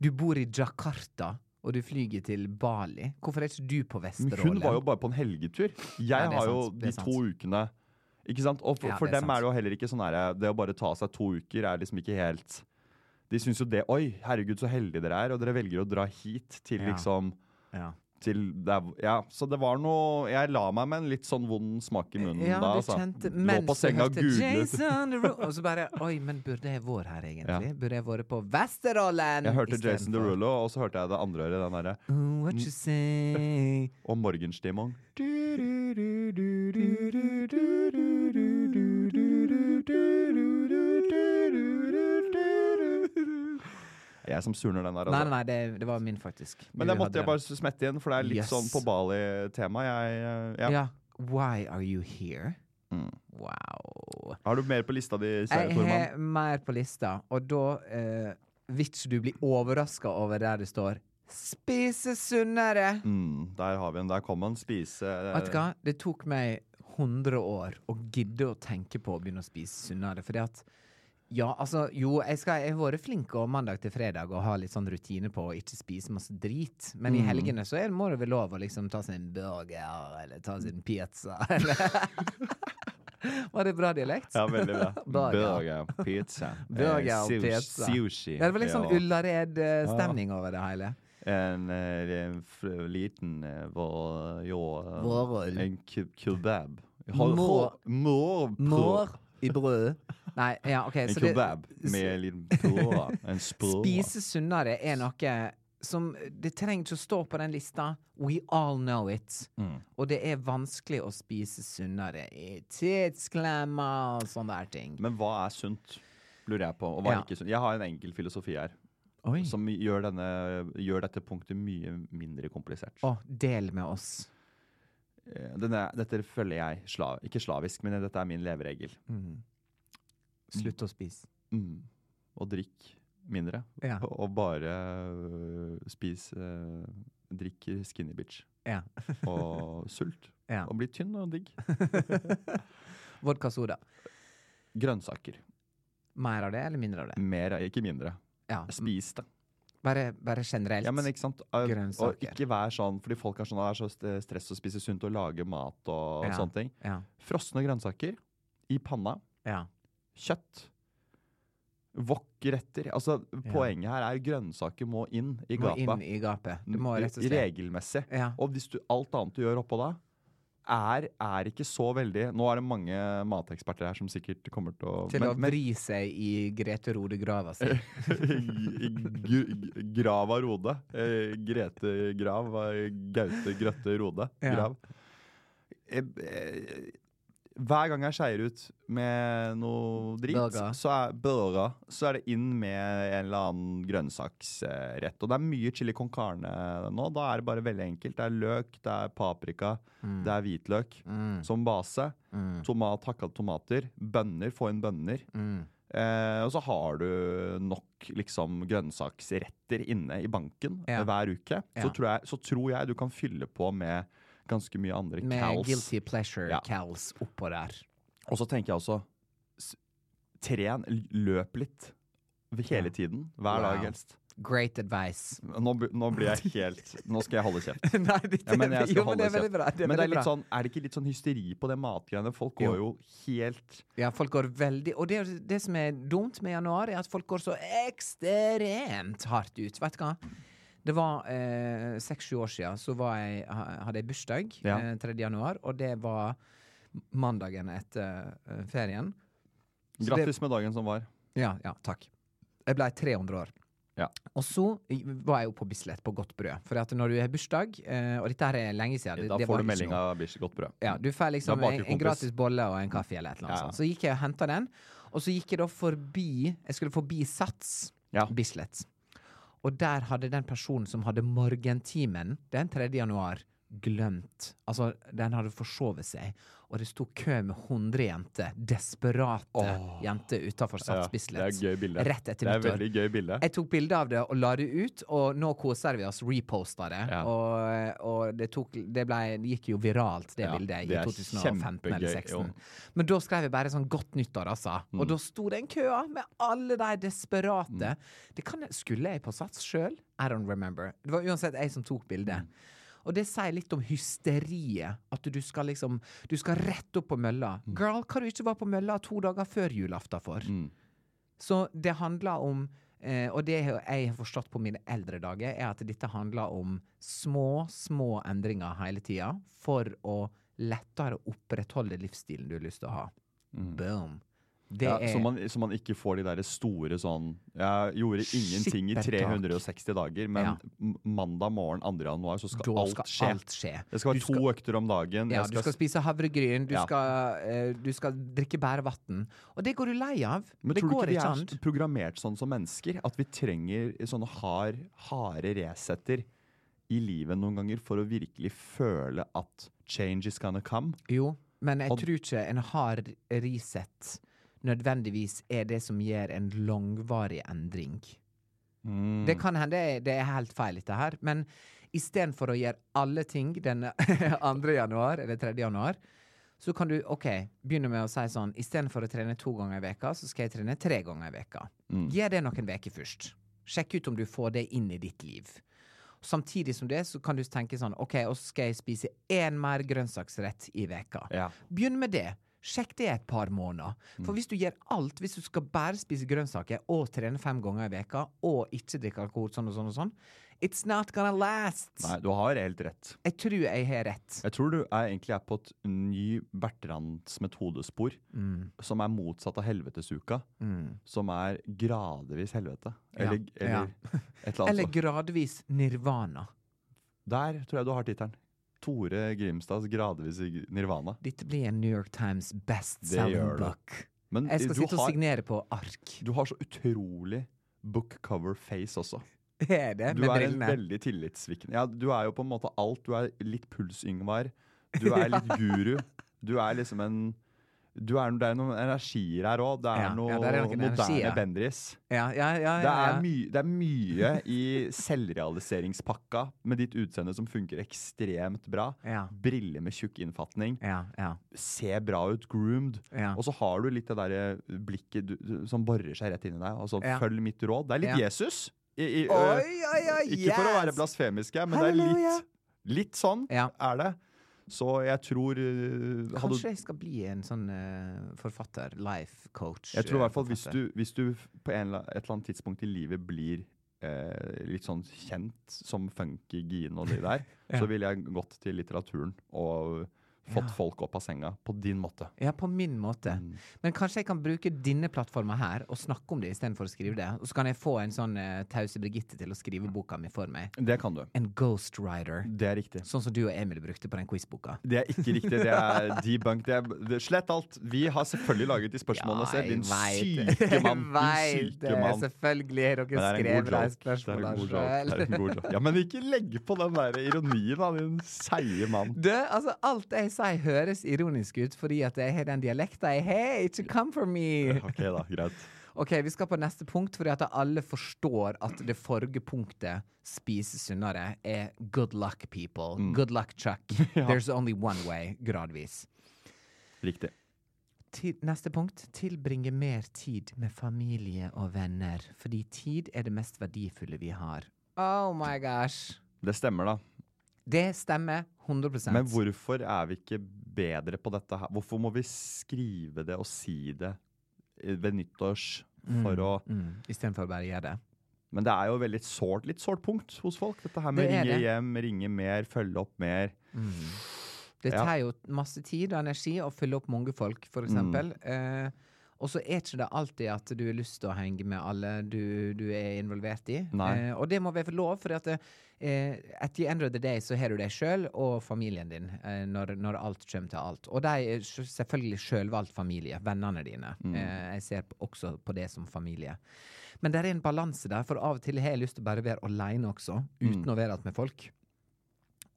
S1: Du bor i Jakarta, og du flyger til Bali. Hvorfor er ikke du på
S2: Men
S1: Vesterålen?
S2: hun var jo bare på en helgetur. Jeg
S1: Ja, det er
S2: har jo
S1: sant, det er
S2: de
S1: sant.
S2: to ukene Ikke sant? Og for,
S1: Ja,
S2: for
S1: det er
S2: dem
S1: sant.
S2: er det jo heller ikke sånn her Det å bare ta seg to uker er liksom ikke helt De syns jo det Oi, herregud, så heldige dere er, og dere velger å dra hit til
S1: Ja.
S2: liksom
S1: ja.
S2: til der, ja, så det var noe Jeg la meg med en litt sånn vond smak i munnen
S1: ja,
S2: da.
S1: du
S2: Altså.
S1: kjente
S2: Lå
S1: mens
S2: på senga og
S1: du hørte
S2: googlet.
S1: Jason Derulo, og så bare Oi, men burde jeg vært her, egentlig? Burde jeg vært på Vesterålen?
S2: Jeg hørte
S1: istedenfor?
S2: Jason Derulo, Mm. og så hørte jeg det andre øret, den derre
S1: Oh, what you say?
S2: Og morgenstimong. Jeg som surner den der.
S1: Nei,
S2: Altså.
S1: nei, det, det var min, faktisk.
S2: Men det
S1: Du
S2: måtte
S1: hadde
S2: jeg bare smette inn, for det er litt
S1: Yes.
S2: sånn på Bali-tema. Jeg, eh,
S1: den.
S2: ja.
S1: Ja. Why are you here?
S2: Mm.
S1: Wow.
S2: Har du mer på lista di, kjære
S1: Jeg
S2: Tormann?
S1: har mer på lista, og da eh, vil ikke du bli overraska over der det står 'spise sunnere'.
S2: Mm, der har vi den. Der kom den. Spise eh,
S1: Vet du hva? Det tok meg 100 år å gidde å tenke på å begynne å spise sunnere. Fordi at ja, altså, jo, jeg, skal, jeg har vært flink og mandag til fredag og har litt sånn rutine på å ikke spise masse drit. Men
S2: Mm.
S1: i helgene så er, må det vel lov å liksom ta seg en burger eller ta seg en pizza. Eller? Var det bra dialekt?
S2: Ja, veldig bra.
S1: Burger.
S2: pizza,
S1: Burger
S2: eh,
S1: og
S2: sus-
S1: pizza.
S2: Sushi.
S1: Ja, det var litt sånn
S2: ja.
S1: Ullared-stemning over det hele.
S2: En, eh, en fr- liten eh, var jo eh,
S1: Vårøl.
S2: En ke- kebab.
S1: Mår.
S2: Mår.
S1: Mår i brød. Nei, ja, OK.
S2: En
S1: Så det,
S2: kebab med en liten purre. En språ.
S1: spise sunnere er noe som Det trenger ikke å stå på den lista. We all know it.
S2: Mm.
S1: Og det er vanskelig å spise sunnere i tidsklemma og sånne der ting.
S2: Men hva er sunt? Lurer jeg på. Og hva
S1: Ja.
S2: er ikke sunt? Jeg har en enkel filosofi her
S1: Oi.
S2: som gjør, denne, gjør dette punktet mye mindre komplisert.
S1: Å, del med oss.
S2: Eh, Denne, dette følger jeg sla, ikke slavisk, men dette er min leveregel.
S1: Mm. Slutt å spise.
S2: Mm. Og drikk mindre.
S1: Ja.
S2: Og bare øh, spis øh, Drikk skinny bitch.
S1: ja.
S2: Og sult.
S1: Ja.
S2: Og bli tynn og digg.
S1: Vodka soda.
S2: Grønnsaker.
S1: Mer av det eller mindre av det?
S2: Mer, ikke mindre.
S1: Ja.
S2: Spis det.
S1: Bare, bare generelt.
S2: Ja, men ikke sant? Eh,
S1: Grønnsaker.
S2: Og ikke vær sånn, fordi folk er sånn det er så st- stress å spise sunt og lage mat og
S1: Ja.
S2: sånne ting.
S1: ja.
S2: Frosne grønnsaker i panna.
S1: ja.
S2: Kjøtt. Wok-retter. Altså, poenget her er grønnsaker må inn i
S1: Du må
S2: gapet.
S1: inn i gapet. Du må rett og slett
S2: Regelmessig.
S1: Ja.
S2: Og hvis du, alt annet du gjør oppå da, er, er ikke så veldig Nå er det mange mateksperter her som sikkert kommer til å
S1: Til å
S2: men- men-
S1: vri seg i Grete Rode-grava si.
S2: i- i gr- Grav av Rode. Eh, Grete Grav. eh, Gaute Grøtte Rode.
S1: Ja.
S2: Grav. Eh, eh, Hver gang jeg skeier ut med noe drit,
S1: Burger.
S2: så er, burger, så er det inn med en eller annen grønnsaksrett. Og det er mye chili con carne nå. Da er det bare veldig enkelt. Det er løk, det er paprika,
S1: Mm.
S2: det er
S1: mm.
S2: hvitløk som base. Tomat, hakka tomater, bønner, få inn bønner. Eh, og så har du nok liksom grønnsaksretter inne i banken
S1: Ja.
S2: eh, hver uke.
S1: Ja.
S2: Så, tror jeg, så tror jeg du kan fylle på med ganske mye andre
S1: Med
S2: cals.
S1: guilty pleasure
S2: Ja.
S1: cows oppå der.
S2: Og så tenker jeg også s- Tren, l- løp litt.
S1: Ja.
S2: Hele tiden.
S1: Wow.
S2: Hver dag helst.
S1: Great advice.
S2: Nå, bu- nå blir jeg helt Nå skal jeg holde kjeft.
S1: Nei, dette,
S2: Ja, men jeg skal
S1: jo, men det er
S2: holde
S1: veldig bra. Det er
S2: Men det er,
S1: veldig
S2: litt
S1: bra.
S2: sånn, er det ikke litt sånn hysteri på det matgreiene? Folk går jo helt
S1: Ja, folk går veldig Og det, er jo det som er dumt med januar, er at folk går så ekstremt hardt ut. Vet du hva? Det var eh, seks-sju år siden, så var jeg, ha- hadde jeg bursdag
S2: Ja.
S1: eh, 3. januar, og det var mandagen etter eh, ferien. Så det-
S2: Grattis med dagen som var.
S1: Ja, ja, takk. Jeg ble 300 år.
S2: Ja.
S1: Og så i- var jeg jo på Bislett, på Godt brød. For at når du har bursdag, eh, og dette her er lenge siden
S2: Da
S1: det- det var
S2: får du
S1: ikke
S2: melding
S1: noe.
S2: av Bish godt brød.
S1: Ja, du får liksom
S2: Mm. Da
S1: en,
S2: baker
S1: en
S2: kompis.
S1: gratis bolle og en kaffe eller et eller annet
S2: Ja.
S1: sånt. Så gikk jeg og henta den, og så gikk jeg da forbi Jeg skulle forbi Sats
S2: Ja.
S1: Bislett. Og der hadde den personen som hadde morgentimen den 3. januar, glemt. Altså, den hadde forsovet seg. Og det sto kø med 100 jenter, desperate
S2: Åh.
S1: jenter utafor
S2: Ja,
S1: Sats
S2: det er
S1: Bislett.
S2: et gøy bilde.
S1: Rett etter
S2: Det er et
S1: nyttår.
S2: veldig gøy bilde.
S1: Jeg tok bilde av det og la det ut, og nå koser vi oss. Reposta det.
S2: Ja.
S1: Og, og det, tok, det, ble, det gikk jo viralt, det
S2: Ja,
S1: bildet,
S2: det er
S1: i 2015 eller
S2: kjempegøy,
S1: 2016.
S2: jo. Mm.
S1: Men da skrev jeg bare sånn 'Godt nyttår', altså. Og da sto det en kø med alle de desperate.
S2: Mm.
S1: Det kan, jeg- skulle jeg på Sats sjøl? I don't remember. Det var uansett jeg som tok bildet.
S2: Mm.
S1: Og det sier litt om hysteriet. At du skal liksom Du skal rett opp på mølla. Girl, hva du ikke var på mølla to dager før julaften for?
S2: Mm.
S1: Så det handler om eh, Og det jeg har forstått på mine eldre dager, er at dette handler om små, små endringer hele tida for å lettere opprettholde livsstilen du har lyst til å ha. Boom. Det
S2: Mm. Ja,
S1: er
S2: så, man, så man ikke får de der store sånn Jeg gjorde ingenting i
S1: Skippertak.
S2: 360 dager, men
S1: Ja.
S2: m- mandag morgen 2. januar så skal
S1: Da
S2: alt
S1: skal
S2: skje.
S1: alt skje.
S2: Det skal
S1: Du
S2: være to økter om dagen.
S1: Ja,
S2: jeg
S1: du skal spise havregryn, du,
S2: Ja.
S1: skal, eh, du skal drikke bærevann. Og det går du lei av.
S2: men
S1: det
S2: tror du
S1: går
S2: ikke vi
S1: ikke
S2: er
S1: an.
S2: s- programmert sånn som mennesker? At vi trenger sånne hard, harde resetter i livet noen ganger for å virkelig føle at change is gonna come?
S1: Jo, men jeg
S2: Og-
S1: tror ikke en hard reset nødvendigvis er det som gjør en langvarig endring. Mm. Det
S2: Mm.
S1: kan hende det er helt feil, dette her. Men istedenfor å gjøre alle ting den 2. januar eller 3. januar, så kan du ok, begynne med å si sånn Istedenfor å trene to ganger i veka, så skal jeg trene tre ganger i veka.
S2: Mm.
S1: Gi det noen veker først. Sjekk ut om du får det inn i ditt liv. Samtidig som det, så kan du tenke sånn OK, og så skal jeg spise én mer grønnsaksrett i veka.
S2: Ja.
S1: Begynn med det. Sjekk det et par måneder.
S2: Mm.
S1: For hvis du gjør alt, hvis du skal bare spise grønnsaker og trene fem ganger i veka og ikke drikke alkohol sånn og sånn og sånn, it's not gonna last.
S2: Nei, du har helt rett.
S1: Jeg tror jeg har rett.
S2: Jeg tror du er egentlig er på et ny Bertrands metodespor,
S1: Mm,
S2: som er motsatt av helvetesuka. Som er gradvis helvete. Eller,
S1: Ja.
S2: eller
S1: Ja.
S2: et
S1: Eller
S2: eller annet. sånt.
S1: gradvis nirvana.
S2: Der tror jeg du har tittelen. Tore Grimstads 'Gradvis i nirvana'.
S1: Dette blir en New York Times
S2: gjør
S1: bestselling
S2: det.
S1: book.
S2: Men
S1: Jeg skal
S2: du,
S1: sitte og
S2: har,
S1: signere på ark.
S2: du har så utrolig book cover face også.
S1: Det er det,
S2: Du
S1: Eh, med
S2: er en
S1: brillene.
S2: veldig tillitsvikende Ja, du er jo på en måte alt. Du er litt Puls-Yngvar. Du er litt guru. Du er liksom en du er, Det er noen energier her òg. Det er
S1: Ja,
S2: noe
S1: ja, det er noen
S2: moderne
S1: energier.
S2: Bendris.
S1: Ja, ja, ja,
S2: Det
S1: ja,
S2: er,
S1: ja.
S2: my, det er mye i selvrealiseringspakka med ditt utseende som funker ekstremt bra.
S1: Ja.
S2: Briller med tjukk innfatning.
S1: Ja, ja,
S2: Se bra ut, groomed.
S1: ja.
S2: Og så har du litt det derre blikket du, du, som borer seg rett inn i deg. Altså,
S1: Ja.
S2: følg mitt råd. Det er litt
S1: Ja.
S2: Jesus. I, i,
S1: Oi,
S2: øh,
S1: oi, oi,
S2: ikke for å være
S1: yes!
S2: blasfemiske, men det er
S1: Halleluja.
S2: litt, litt sånn
S1: Ja.
S2: er det. Så jeg tror øh, hadde,
S1: Kanskje jeg skal bli en sånn eh, forfatter, life coach.
S2: Jeg tror i
S1: eh,
S2: hvert fall hvis
S1: forfatter.
S2: du, hvis du f- på en, eller- et eller annet tidspunkt i livet blir eh, litt sånn kjent som funky gien og de der,
S1: Ja.
S2: så ville jeg gått til litteraturen og fått
S1: Ja.
S2: folk opp av senga på din måte.
S1: Ja, på min måte.
S2: Mm.
S1: Men kanskje jeg kan bruke denne plattforma her og snakke om det istedenfor å skrive det. Og så kan jeg få en sånn eh, tause Birgitte til å skrive boka mi for meg.
S2: Det kan du.
S1: En ghostwriter.
S2: Det er riktig.
S1: Sånn som du og Emil brukte på den quizboka.
S2: Det er ikke riktig. Det er debunk. Det er, det, slett alt. Vi har selvfølgelig laget de spørsmålene selv. Din syke mann.
S1: Jeg vet
S2: Din syke
S1: det.
S2: mann.
S1: Selvfølgelig har
S2: Men
S1: dere
S2: det er en
S1: skrevet de spørsmåla
S2: god joke. Det er en god joke. Det er
S1: sjøl.
S2: en god joke. Ja, men ikke legg på den der ironien, da, din seige mann.
S1: Du, altså Alt jeg sier, høres ironisk ut fordi at jeg har den dialekta jeg har. Ikke come for me!
S2: Ok, da. Greit.
S1: OK, vi skal på neste punkt, fordi at alle forstår at det forrige punktet, spise sunnere, er good luck, people. Good luck, Chuck. There's only one way, gradvis.
S2: Riktig.
S1: Til, neste punkt tilbringe mer tid med familie og venner, fordi tid er det mest verdifulle vi har. Oh my gosh.
S2: Det stemmer, da.
S1: Det stemmer 100
S2: Men hvorfor er vi ikke bedre på dette her? Hvorfor må vi skrive det og si det ved nyttårs for å
S1: mm, Istedenfor å bare gjøre det.
S2: Men det er jo veldig sårt, litt sårt punkt hos folk, dette her med
S1: Det er
S2: ringe
S1: det.
S2: hjem, ringe mer, følge opp mer.
S1: Mm. Det
S2: Ja.
S1: tar jo masse tid og energi å fylle opp mange folk, for eksempel.
S2: Mm.
S1: Eh, og så er ikke det alltid at du har lyst til å henge med alle du, du er involvert i.
S2: Nei.
S1: Eh, og det må være lov, for at, eh, at the end of the day så har du deg sjøl og familien din eh, når, når alt kommer til alt. Og de er sj- selvfølgelig sjølvalgt familie, vennene dine.
S2: Mm.
S1: Eh, jeg ser p- også på det som familie. Men det er en balanse der, for av og til har jeg lyst til å bare være aleine også,
S2: Mm.
S1: uten å være alt med folk.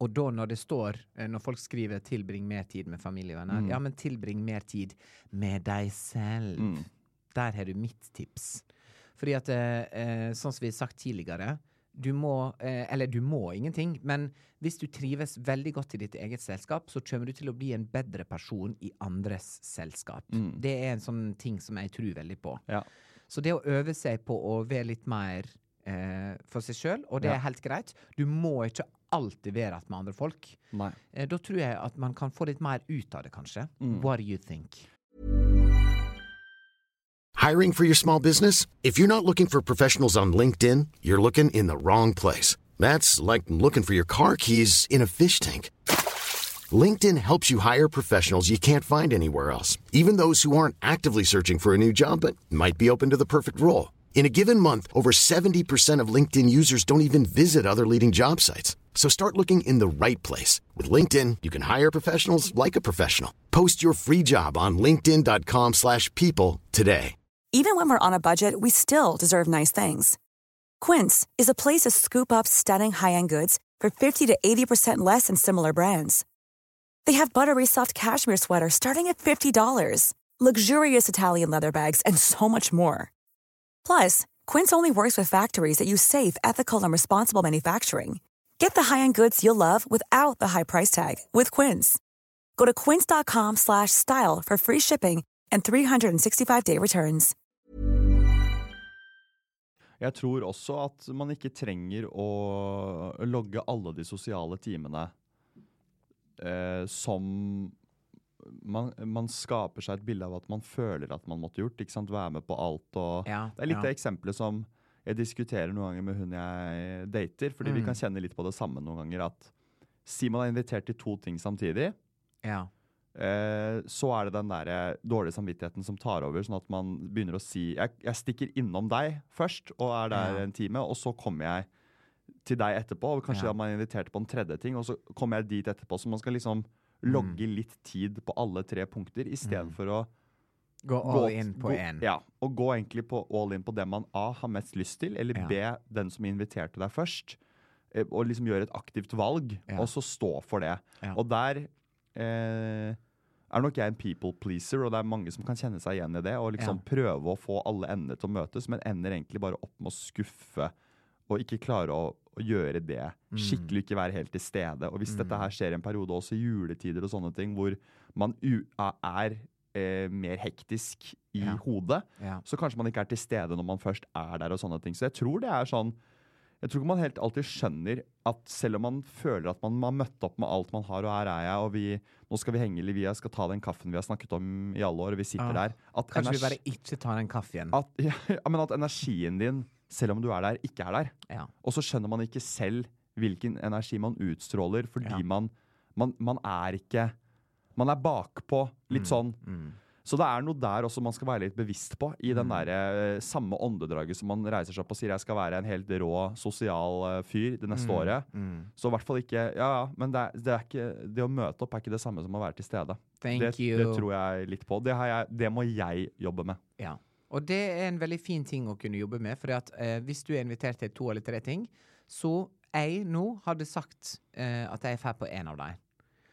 S1: Og da når det står, eh, når folk skriver 'tilbring mer tid med familie og venner', ja, men tilbring mer tid med deg selv. Der har du mitt tips. Fordi at, eh, eh, sånn som vi har sagt tidligere, du må, eh, eller du må ingenting, men hvis du trives veldig godt i ditt eget selskap, så kommer du til å bli en bedre person i andres selskap. Det er en sånn ting som jeg tror veldig på.
S2: Mm. Ja.
S1: Så det å øve seg på å være litt mer eh, for seg sjøl, og det
S2: Ja.
S1: er helt greit. Du må ikke alltid være att med andre folk.
S2: Nei.
S1: Eh, da tror jeg at man kan få litt mer ut av det, kanskje.
S2: Mm.
S1: What do you think?
S3: Hiring for your small business? If you're not looking for professionals on LinkedIn, you're looking in the wrong place. That's like looking for your car keys in a fish tank. LinkedIn helps you hire professionals you can't find anywhere else, even those who aren't actively searching for a new job but might be open to the perfect role. In a given month, over 70% of LinkedIn users don't even visit other leading job sites. So start looking in the right place. With LinkedIn, you can hire professionals like a professional. Post your free job on linkedin.com/people slash people today.
S4: Even when we're on a budget, we still deserve nice things. Quince is a place to scoop up stunning high-end goods for 50 to 80% less than similar brands. They have buttery soft cashmere sweaters starting at $50, luxurious Italian leather bags, and so much more. Plus, Quince only works with factories that use safe, ethical, and responsible manufacturing. Get the high-end goods you'll love without the high price tag with Quince. Go to quince.com/style slash style for free shipping and 365-day returns.
S2: Jeg tror også at man ikke trenger å logge alle de sosiale timene eh, som man, man skaper seg et bilde av at man føler at man måtte gjort. ikke sant? Være med på alt og
S1: Ja,
S2: Det er litt
S1: ja.
S2: det eksempelet som jeg diskuterer noen ganger med hun jeg dater, fordi
S1: Mm.
S2: vi kan kjenne litt på det samme noen ganger. At si man er invitert til to ting samtidig,
S1: Ja.
S2: eh, så er det den der eh, dårlige samvittigheten som tar over, sånn at man begynner å si jeg, jeg stikker innom deg først og er der
S1: Ja.
S2: en time, og så kommer jeg til deg etterpå. Og kanskje
S1: Ja.
S2: da man er invitert på en tredje ting, og så kommer jeg dit etterpå. Så man skal liksom
S1: Mm.
S2: logge litt tid på alle tre punkter, istedenfor for å
S1: Gå all
S2: gå-
S1: in på
S2: gå-
S1: én.
S2: Ja, og gå egentlig på all in på det man A har mest lyst til, eller
S1: Ja.
S2: B den som inviterte deg først, eh, og liksom gjøre et aktivt valg,
S1: Ja.
S2: og så stå for det.
S1: Ja.
S2: Og der eh, er nok jeg en people pleaser, og det er mange som kan kjenne seg igjen i det, og liksom prøve å få alle endene til å møtes, men ender egentlig bare opp med å skuffe, og ikke klare å å gjøre det
S1: Mm.
S2: skikkelig, ikke være helt til stede. Og hvis dette her skjer i en periode også i juletider og sånne ting, hvor man u er eh, mer hektisk i
S1: Ja.
S2: hodet,
S1: Ja.
S2: så kanskje man ikke er til stede når man først er der og sånne ting. Så jeg tror det er sånn Jeg tror ikke man helt alltid skjønner at selv om man føler at man har møtt opp med alt man har, og her er jeg, og vi, nå skal vi henge i livet, jeg skal ta den kaffen vi har snakket om i alle år, og vi sitter
S1: Ah.
S2: der at,
S1: Kanskje vi
S2: energi-
S1: bare ikke tar den kaffen.
S2: at, ja, men at energien din, selv om du er der, ikke er der.
S1: Ja.
S2: Og så skjønner man ikke selv hvilken energi man utstråler, fordi
S1: Ja.
S2: man, man, man er ikke Man er bakpå, litt
S1: Mm,
S2: sånn. Så det er noe der også man skal være litt bevisst på, i den
S1: Mm.
S2: der, eh, samme åndedraget som man reiser seg opp og sier 'jeg skal være en helt rå sosial eh, fyr det neste
S1: Mm.
S2: året'. Så i hvert fall ikke Ja, ja, men det, er, det, er ikke, det å møte opp er ikke det samme som å være til stede.
S1: Thank
S2: det,
S1: you.
S2: det tror jeg litt på. Det, har jeg, det må jeg jobbe med.
S1: Ja. Og det er en veldig fin ting å kunne jobbe med, for at, eh, hvis du er invitert til to eller tre ting, så jeg nå hadde sagt eh, at jeg er ferdig på én av dem.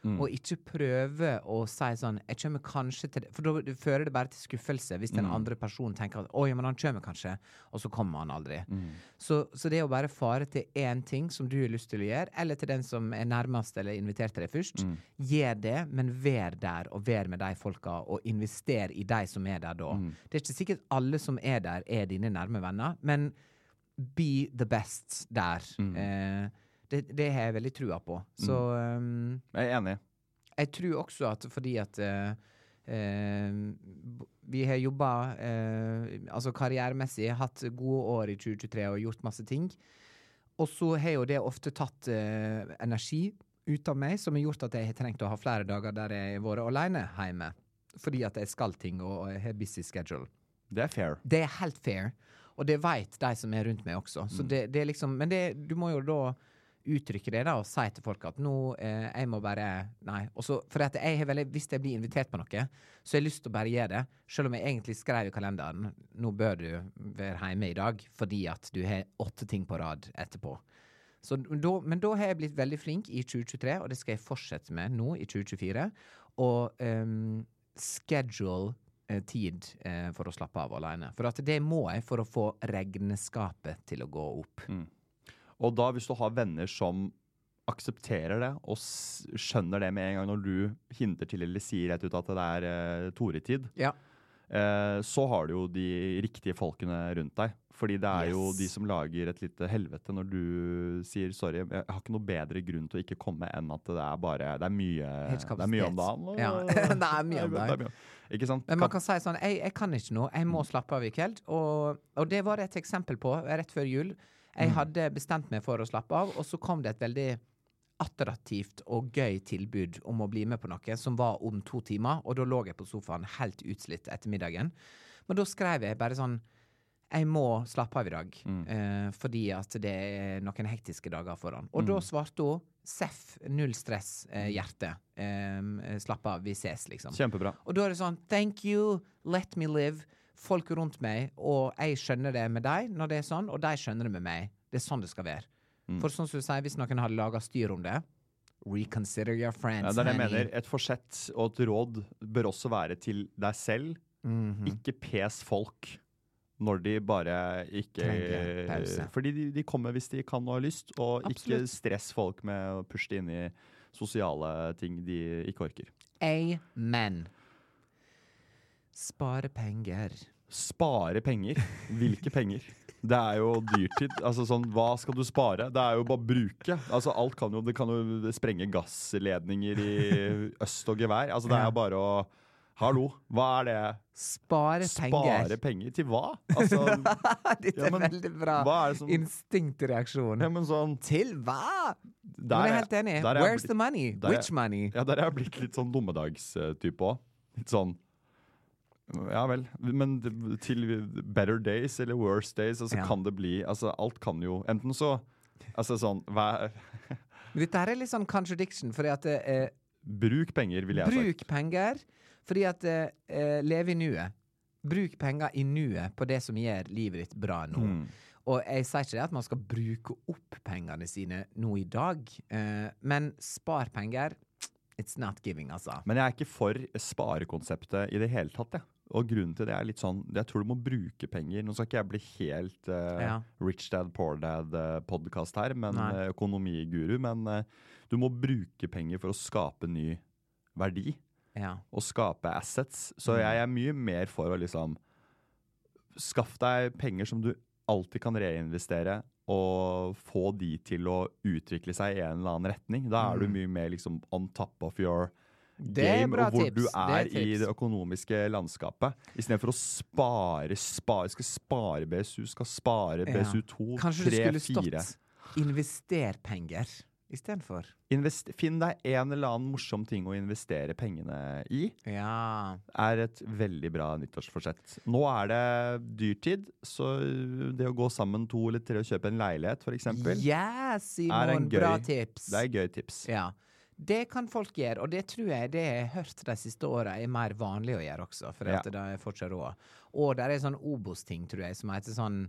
S1: og ikke prøve å si sånn jeg kommer kanskje til det. For da du fører det bare til skuffelse hvis den andre personen tenker at 'oi, men han kommer kanskje', og så kommer han aldri. Så, så det å bare fare til én ting som du har lyst til å gjøre, eller til den som er nærmest eller inviterte deg
S2: Mm.
S1: først, gjør det, men vær der og vær med de folka, og invester i de som er der
S2: Mm.
S1: da. Det er ikke sikkert alle som er der, er dine nærme venner, men be the best der. Eh, det, det har jeg veldig trua på. Så ehm,
S2: Jeg er enig.
S1: jeg tror også at fordi at eh, eh, b- vi har jobba eh, altså karrieremessig, hatt gode år i 2023 og gjort masse ting. Og så har jo det ofte tatt eh, energi ut av meg, som har gjort at jeg har trengt å ha flere dager der jeg har vært alene hjemme. Fordi at jeg skal ting og og jeg har busy schedule.
S2: Det er fair.
S1: Det er helt fair, og det veit de som er rundt meg også. Så det, det er liksom, men det, du må jo da uttrykke det da, og si til folk at nå eh, jeg må bare Nei. Og så- for at jeg har veldig, hvis jeg blir invitert på noe, så har jeg lyst til å bare gjøre det. Selv om jeg egentlig skrev i kalenderen nå bør du være hjemme i dag, fordi at du har åtte ting på rad etterpå. Så, da, men da har jeg blitt veldig flink i 2023, og det skal jeg fortsette med nå i 2024. Og ehm, schedule eh, tid eh, for å slappe av alene. For at det må jeg for å få regnskapet til å gå opp.
S2: Og da, hvis du har venner som aksepterer det og s- skjønner det med en gang når du hinter til eller sier rett ut at det er eh, Tore-tid,
S1: Ja.
S2: eh, så har du jo de riktige folkene rundt deg. Fordi det er jo
S1: Yes.
S2: de som lager et lite helvete når du sier sorry. Jeg har ikke noe bedre grunn til å ikke komme enn at det er bare Det er mye,
S1: Helt
S2: det er mye
S1: kapasitet.
S2: om dagen. og-
S1: Ja, det er mye om
S2: det er
S1: dagen.
S2: mye. Ikke sant?
S1: Men man kan si sånn jeg, jeg kan ikke noe, jeg må slappe av i kveld. Og, og det var det et eksempel på rett før jul. Jeg hadde bestemt meg for å slappe av, og så kom det et veldig attraktivt og gøy tilbud om å bli med på noe som var om to timer, og da lå jeg på sofaen helt utslitt etter middagen. Men da skrev jeg bare sånn jeg må slappe av i dag, eh, fordi at det er noen hektiske dager foran. Og da svarte hun Seff, null stress, eh, hjerte. Eh, slapp av, vi ses, liksom.
S2: Kjempebra.
S1: Og da er det sånn Thank you, let me live. Folk rundt meg, og jeg skjønner det med deg når det er sånn, og de skjønner det med meg. Det er sånn det skal være.
S2: Mm.
S1: For sånn som du sier, hvis noen hadde laga styr om det Reconsider your friends,
S2: Ja, det er det jeg
S1: honey.
S2: mener. Et forsett og et råd bør også være til deg selv.
S1: Mm. Mhm.
S2: Ikke pes folk når de bare ikke
S1: Trenger pause.
S2: Fordi de, de kommer hvis de kan og har lyst, og ikke
S1: Absolutt.
S2: stress folk med å pushe det inn i sosiale ting de ikke orker.
S1: Amen. Spare penger.
S2: Spare penger. Hvilke penger? Det er jo dyrtid. Altså sånn, Hva skal du spare? Det er jo bare å bruke. Altså alt kan jo, Det kan jo sprenge gassledninger i øst og gevær. Altså Det er jo bare å Hallo, hva er det?
S1: Spare
S2: Spare
S1: penger.
S2: penger til hva? Altså,
S1: Dette er
S2: Ja, men
S1: veldig bra.
S2: hva er det som-
S1: Instinktreaksjon.
S2: ja, men sånn
S1: Til hva?
S2: der
S1: Men jeg er helt enig.
S2: der er jeg
S1: Where's
S2: blitt-
S1: the money?
S2: der er-
S1: Which money?
S2: Ja, der er jeg blitt litt sånn dummedagstype òg. Litt sånn Ja vel. Men det- til better days eller worse days, altså
S1: Ja.
S2: kan det bli Altså, alt kan jo Enten så Altså sånn hva,
S1: Men Dette her er litt sånn contradiction, fordi at eh,
S2: Bruk penger, ville jeg ha sagt.
S1: Bruk penger, fordi at eh, eh, leve i nuet. Bruk penger i nuet på det som gjør livet ditt bra nå.
S2: Mm.
S1: Og jeg sier ikke det at man skal bruke opp pengene sine nå i dag, eh, men spar penger It's not giving, altså.
S2: Men jeg er ikke for sparekonseptet i det hele tatt, jeg. Og grunnen til det er litt sånn Jeg tror du må bruke penger. Nå skal ikke jeg bli helt eh,
S1: Ja.
S2: rich dad, poor dad-podkast her, men
S1: Nei.
S2: eh, økonomiguru. Men eh, du må bruke penger for å skape ny verdi
S1: Ja.
S2: og skape assets.
S1: Mm.
S2: Så jeg er mye mer for å liksom Skaff deg penger som du alltid kan reinvestere, og få de til å utvikle seg i en eller annen retning. Da er du mye mer liksom on top of your
S1: Mm. Det er
S2: game,
S1: bra
S2: og hvor
S1: tips.
S2: du
S1: Det er
S2: er i
S1: tips.
S2: det økonomiske landskapet. Istedenfor å spare, spare Skal spare BSU, skal spare
S1: Ja.
S2: BSU2,
S1: Kanskje det
S2: 3,
S1: skulle
S2: 4
S1: stått 'invester penger' istedenfor.
S2: Invest, Finn deg en eller annen morsom ting å investere pengene i.
S1: Ja.
S2: er et veldig bra nyttårsforsett. Nå er det dyrtid, så det å gå sammen to eller tre og kjøpe en leilighet, f.eks., eksempel
S1: Yes,
S2: er
S1: Simon!
S2: en gøy,
S1: Bra tips.
S2: Det er et gøy tips.
S1: Ja. Det kan folk gjøre, og det tror jeg det jeg har hørt de siste åra er mer vanlig å gjøre også, for at
S2: Ja.
S1: det er fortsatt råd. Og der er sånn Obos-ting, tror jeg, som heter sånn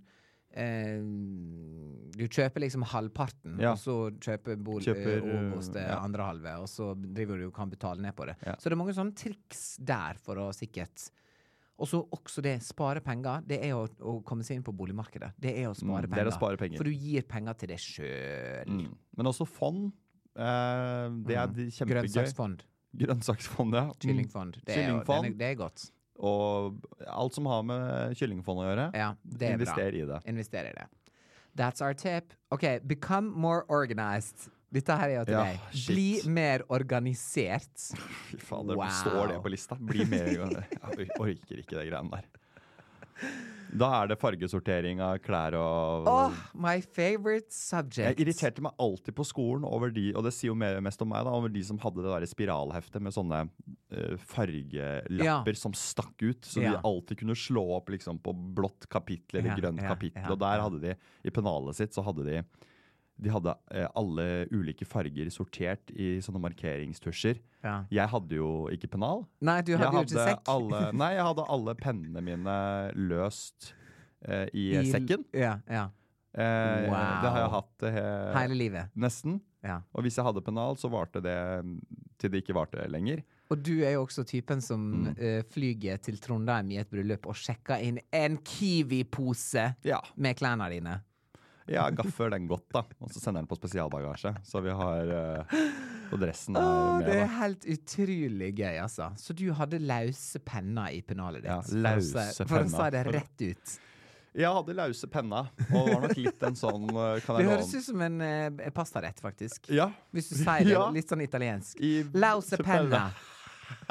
S1: eh, Du kjøper liksom halvparten,
S2: Ja.
S1: og så kjøper
S2: Kjøper, eh,
S1: boligbos det
S2: ja.
S1: andre halve, og så driver du og kan betale ned på det.
S2: Ja.
S1: Så det er mange sånne triks der for å sikkert Og så også det spare penger. Det er å, å komme seg inn på boligmarkedet. Det er å spare
S2: Mm, det er
S1: penger.
S2: å spare penger.
S1: For du gir penger til deg sjøl.
S2: Mm. Men også fond. Eh, det er de- kjempegøy.
S1: Mm. Grønnsaksfond.
S2: Grønnsaksfond, ja. Mm.
S1: Kyllingfond. Det er, jo-
S2: Kyllingfond.
S1: den er- det er godt.
S2: Og alt som har med kyllingfond å gjøre.
S1: Ja, det er bra.
S2: Invester i det.
S1: Invester i det. That's our tip. OK, become more organized. Dette her er jo til
S2: Ja,
S1: deg.
S2: shit.
S1: Bli mer organisert.
S2: Fy fader,
S1: Wow.
S2: står det på lista? Bli med. i gang. Jeg orker ikke det greiene der. Da er det fargesortering av klær og
S1: Oh, my favorite
S2: Jeg
S1: subject.
S2: irriterte meg alltid på skolen over de, og det sier jo mer, mest om meg, da, over de som hadde det der spiralheftet med sånne eh, fargelapper
S1: Ja.
S2: som stakk ut. Så de
S1: Ja.
S2: alltid kunne slå opp liksom, på blått kapittel eller
S1: Ja,
S2: grønt
S1: ja,
S2: kapittel.
S1: ja,
S2: og der
S1: ja.
S2: hadde de, i pennalet sitt, så hadde de de hadde eh, alle ulike farger sortert i sånne markeringstusjer.
S1: Ja.
S2: Jeg hadde jo ikke pennal.
S1: Nei, du hadde jo ikke sekk.
S2: alle, nei, jeg hadde alle pennene mine løst eh, i,
S1: I-
S2: sekken.
S1: Ja, ja.
S2: Eh,
S1: Wow.
S2: Det har jeg hatt eh,
S1: Hele livet.
S2: Nesten.
S1: Ja.
S2: Og hvis jeg hadde pennal, så varte det mm, til det ikke varte lenger.
S1: Og du er jo også typen som
S2: Mm.
S1: eh, flyger til Trondheim i et bryllup og sjekker inn en Kiwi-pose
S2: Ja,
S1: med klærne dine.
S2: jeg gaffer den godt, da. Og så sender jeg den på spesialbagasje. Så vi har eh, Og dressen er
S1: Åh,
S2: eh, med,
S1: Ah, det er
S2: da.
S1: helt utrolig gøy, altså. Så du hadde lause penner i pennalet ditt?
S2: Ja,
S1: for å si-
S2: lause
S1: For å si
S2: penner.
S1: det rett ut.
S2: Jeg hadde lause penna, og var nok litt en sånn eh, Kan
S1: Det
S2: jeg
S1: høres
S2: låne
S1: ut som en eh, pastarett, faktisk.
S2: Ja.
S1: Hvis du sier det
S2: Ja.
S1: litt sånn italiensk.
S2: I
S1: Lause penna.
S2: penna.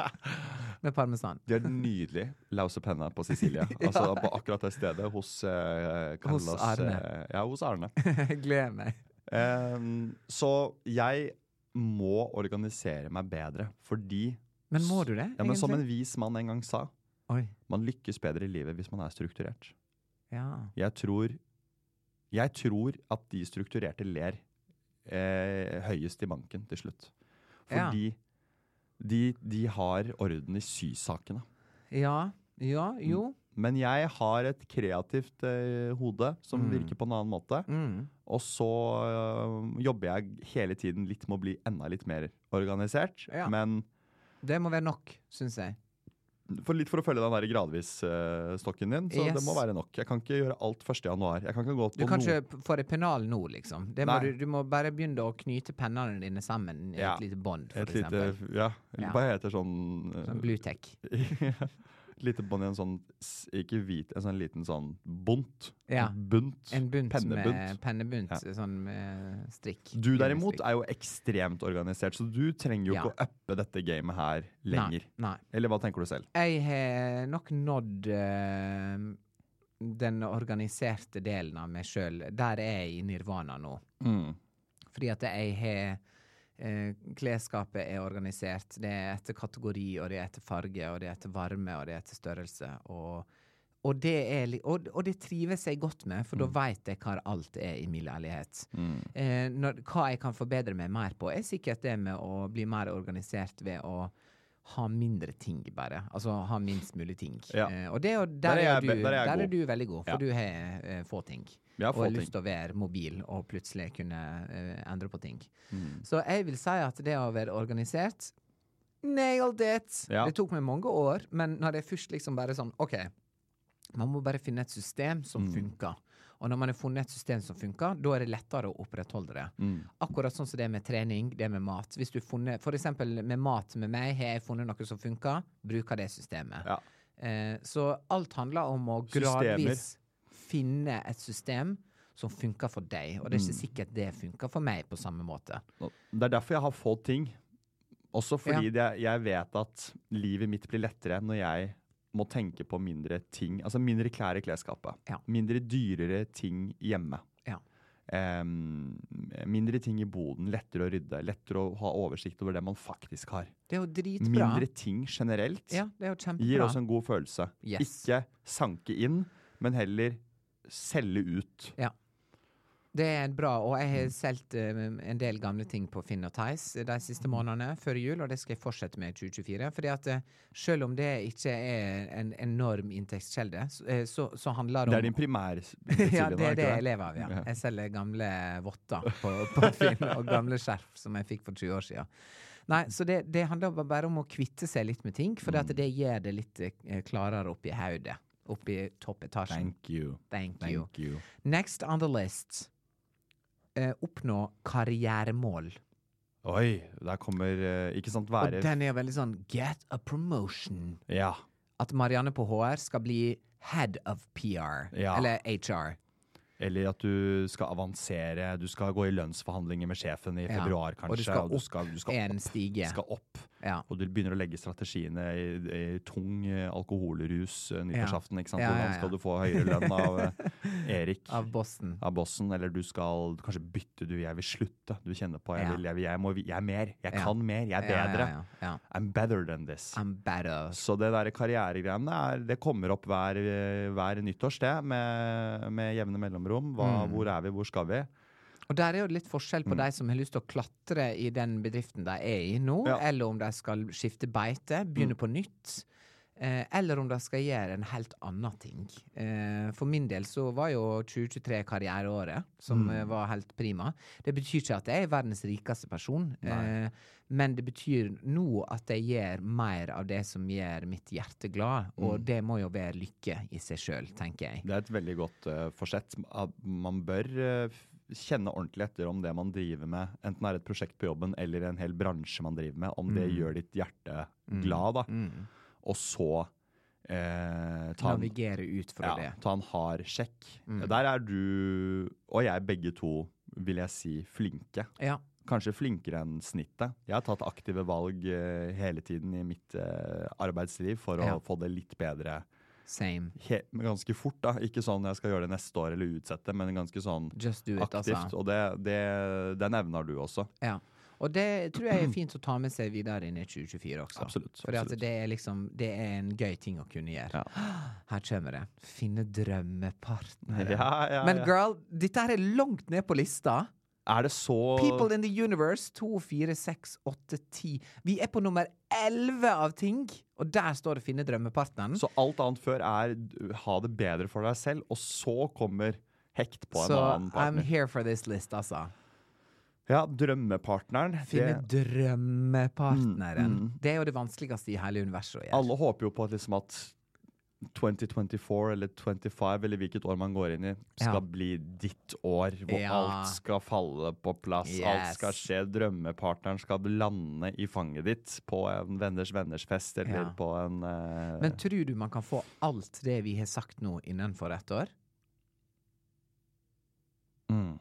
S1: Med parmesan.
S2: De har nydelig lause penna på Sicilia. Altså på akkurat det stedet. Hos eh, Carlos
S1: Hos Arne.
S2: eh, ja, hos Arne.
S1: Jeg gleder meg.
S2: Em, så jeg må organisere meg bedre, fordi
S1: Men må du det?
S2: ja, men Som en
S1: egentlig?
S2: vis mann en gang sa,
S1: Oi.
S2: Man lykkes bedre i livet hvis man er strukturert.
S1: Ja.
S2: Jeg tror, jeg tror at de strukturerte ler eh, høyest i banken til slutt.
S1: Ja.
S2: Fordi de, de har orden i sysakene.
S1: ja. Ja. Jo.
S2: Men jeg har et kreativt eh, hode som
S1: Mm.
S2: virker på en annen måte.
S1: Mm.
S2: Og så eh, jobber jeg hele tiden litt med å bli enda litt mer organisert.
S1: Ja.
S2: Men
S1: Det må være nok, syns jeg.
S2: for litt for å følge den der gradvis-stokken din, så det
S1: Yes.
S2: må være nok. Jeg kan ikke gjøre alt 1. januar. Jeg kan ikke gå
S1: Du
S2: på
S1: kan
S2: noe-
S1: ikke p- få deg pennal nå, liksom. Det må
S2: Nei.
S1: du, du må bare begynne å knyte pennene dine sammen i et
S2: Ja.
S1: lite bånd, for
S2: Et lite,
S1: eksempel.
S2: ja,
S1: Ja.
S2: hva heter sånn eh,
S1: Sånn Bluetech.
S2: Et lite bånd i en sånn, s- ikke hvit, en sånn liten sånn bunt.
S1: Ja.
S2: Bunt.
S1: En bunt med
S2: Pennebunt.
S1: pennebunt,
S2: Ja.
S1: sånn med strikk.
S2: Du derimot
S1: Strikk.
S2: er jo ekstremt organisert, så du trenger jo
S1: Ja.
S2: ikke å uppe dette gamet her lenger.
S1: Nei. nei.
S2: Eller hva tenker du selv?
S1: Jeg har nok nådd eh, den organiserte delen av meg sjøl. Der er jeg i nirvana nå.
S2: Mm,
S1: Fordi at jeg har eh, Klesskapet er organisert. Det er etter kategori, og det er etter farge, og det er etter varme, og det er etter størrelse. Og, og, det, er, li- og, og det trives jeg godt med, for da
S2: Mm.
S1: veit jeg hva alt er i min leilighet. Eh, når, hva jeg kan forbedre meg mer på, er sikkert det med å bli mer organisert ved å ha mindre ting, bare. Altså ha minst mulig ting.
S2: Ja.
S1: Eh, og det, er jo-
S2: Der
S1: der,
S2: er
S1: er
S2: jeg
S1: du,
S2: be- der
S1: der,
S2: er jeg
S1: er,
S2: god.
S1: du veldig god, for
S2: Ja.
S1: du har eh, få ting
S2: Vi har
S1: og
S2: fått
S1: har lyst
S2: ting.
S1: til å være mobil og plutselig kunne eh, endre på ting.
S2: Mm,
S1: Så jeg vil si at det å være organisert Nailed it!
S2: Ja.
S1: Det tok meg mange år, men når det først liksom bare sånn OK, man må bare finne et system som
S2: Mm.
S1: funker. Og når man har funnet et system som funker, da er det lettere å opprettholde det.
S2: Mm.
S1: Akkurat sånn som det med trening, det med mat. Hvis du funnet, for eksempel med mat med meg, har jeg funnet noe som funker, bruker det systemet.
S2: Ja.
S1: Eh, så alt handler om å
S2: Systemer.
S1: gradvis finne et system som funker for deg. Og det er ikke sikkert det funker for meg på samme måte.
S2: Og Det er derfor jeg har få ting. Også fordi det, jeg vet at livet mitt blir lettere når jeg må tenke på mindre ting. Altså mindre klær i klesskapet.
S1: Ja.
S2: Mindre dyrere ting hjemme.
S1: Ja.
S2: Em, mindre ting i boden. Lettere å rydde. Lettere å ha oversikt over det man faktisk har.
S1: Det er jo dritbra.
S2: Mindre ting generelt
S1: ja, det er jo
S2: gir
S1: kjempebra.
S2: også en god følelse.
S1: Yes.
S2: Ikke sanke inn, men heller selge ut.
S1: Ja. Det er bra, og jeg har solgt eh, en del gamle ting på Finn og Tice de siste
S2: Mm.
S1: månedene før jul, og det skal jeg fortsette med i 2024. fordi at eh, selv om det ikke er en enorm inntektskilde, så, eh, så, så handler det
S2: Det
S1: om
S2: er din primære
S1: ja, det er det jeg
S2: lever
S1: lever av, ja. Jeg selger gamle votter på, på Finn, og gamle skjerf som jeg fikk for 20 år siden. Nei, så det, det handler ba- bare om å kvitte seg litt med ting, for
S2: Mm.
S1: det gjør det litt eh, klarere oppi hodet. Oppi toppetasjen.
S2: Thank you.
S1: Thank you.
S2: Thank you.
S1: Next on the list. Eh, oppnå karrieremål.
S2: Oi, der kommer eh, Ikke sant,
S1: Og
S2: være
S1: den er veldig sånn get a promotion.
S2: Ja.
S1: At Marianne på HR skal bli head of PR.
S2: Ja.
S1: Eller HR.
S2: Eller at du skal avansere, du skal gå i lønnsforhandlinger med sjefen i
S1: Ja,
S2: februar,
S1: og du
S2: kanskje.
S1: skal
S2: og
S1: opp
S2: skal- du skal
S1: en
S2: opp,
S1: stige.
S2: skal opp.
S1: Ja.
S2: Og du begynner å legge strategiene i, i tung eh, alkoholrus eh,
S1: Ja.
S2: nyttårsaften. ikke sant?
S1: Ja, ja,
S2: Hvordan
S1: ja.
S2: skal du få høyere lønn av eh, Erik?
S1: Av bossen.
S2: av bossen, eller du skal kanskje bytte du, jeg vil slutte. Du kjenner på, jeg,
S1: Ja.
S2: vil, jeg, vil- jeg, må, jeg er mer, jeg
S1: Ja.
S2: kan mer, jeg er bedre.
S1: Ja, ja, ja, ja.
S2: I'm better than this.
S1: I'm better.
S2: Så det der karrieregreiene er, det kommer opp hver, hver nyttårs, det, med, med jevne mellomrom. Hva, Hvor er vi, hvor skal vi?
S1: Og der er jo litt forskjell
S2: Mm.
S1: på de som har lyst til å klatre i den bedriften de er i nå,
S2: Ja. Mm.
S1: eller om de skal skifte beite, begynne på nytt. Eh, eller om de skal gjøre en helt annen ting. Eh, for min del så var jo 2023 karriereåret, som
S2: Mm.
S1: eh, var helt prima. Det betyr ikke at jeg er verdens rikeste person, eh, men det betyr nå at jeg gjør mer av det som gjør mitt hjerte glad, og
S2: Mm.
S1: det må jo være lykke i seg sjøl, tenker jeg.
S2: Det er et veldig godt eh, forsett. At man bør eh, f- kjenne ordentlig etter om det man driver med, enten er et prosjekt på jobben eller en hel bransje man driver med, om det gjør ditt hjerte glad, da. Og så eh, Mm. ta en
S1: Navigere ut fra
S2: ja,
S1: det.
S2: ta en hard sjekk. Der er du og jeg begge to, vil jeg si, flinke.
S1: Ja.
S2: Kanskje flinkere enn snittet. Jeg har tatt aktive valg eh, hele tiden i mitt eh, arbeidsliv for
S1: Ja.
S2: å få det litt bedre
S1: Same.
S2: he men ganske fort. da. Ikke sånn jeg skal gjøre det neste år eller utsette, men ganske sånn
S1: Just do it,
S2: aktivt.
S1: altså.
S2: Og det, det, den evnen har du også.
S1: Ja. Og det tror jeg er fint å ta med seg videre inn i 2024 også.
S2: Absolutt,
S1: For
S2: absolutt.
S1: det, er liksom, det er en gøy ting å kunne gjøre. Her kommer det. Finne drømmepartnere.
S2: Ja, ja,
S1: Men
S2: ja.
S1: girl, dette her er langt ned på lista.
S2: Er det så
S1: People in the universe. 2, 4, 6, 8, 10. Vi er på nummer 11 av ting, og der står det 'finne drømmepartneren'.
S2: Så alt annet før er d- ha det bedre for deg selv, og så kommer hekt på en
S1: Så
S2: annen
S1: I'm
S2: partner.
S1: here for this list, altså.
S2: Ja, drømmepartneren.
S1: Finne
S2: Det, Mm,
S1: drømmepartneren. Det er jo det vanskeligste i hele universet å gjøre.
S2: alle håper jo på at, liksom at 2024 eller 25, eller hvilket år man går inn i, skal
S1: Ja.
S2: bli ditt år. Hvor
S1: Ja.
S2: alt skal falle på plass, alt
S1: Yes.
S2: skal skje. Drømmepartneren skal lande i fanget ditt på en venners venners fest eller
S1: Ja.
S2: på en eh,
S1: Men tror du man kan få alt det vi har sagt nå innenfor ett år?
S2: mm,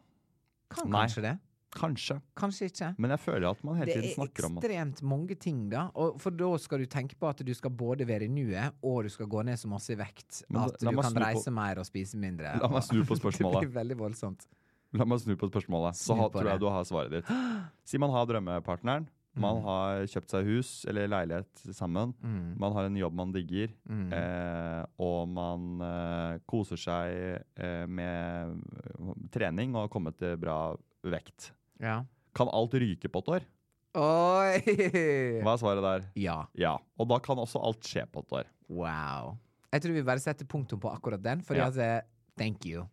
S1: Kan
S2: Nei.
S1: kanskje det.
S2: Kanskje.
S1: Kanskje ikke.
S2: Men jeg føler at man hele
S1: Det
S2: tiden
S1: er
S2: snakker om at
S1: ekstremt mange ting, da. Og for da skal du tenke på at du skal både være i nuet, og du skal gå ned så masse i vekt
S2: Men
S1: at
S2: la
S1: du
S2: meg
S1: kan
S2: snu på-
S1: reise mer og spise mindre.
S2: La meg
S1: og-
S2: snu på spørsmålet.
S1: det blir veldig voldsomt.
S2: La meg snu på spørsmålet, så
S1: Snu
S2: ha,
S1: på
S2: tror jeg
S1: det.
S2: du har svaret ditt. Si man har drømmepartneren. Man
S1: Mm.
S2: har kjøpt seg hus eller leilighet sammen. Man har en jobb man digger.
S1: mm.
S2: Eh, og man eh, koser seg eh, med trening og har kommet til bra vekt.
S1: Ja.
S2: Kan alt ryke på et år?
S1: Oi!
S2: Hva er svaret der?
S1: Ja.
S2: Ja. Og da kan også alt skje på et år.
S1: Wow. Jeg tror vi bare setter punktum på akkurat den, fordi
S2: Ja.
S1: at eh, Thank you.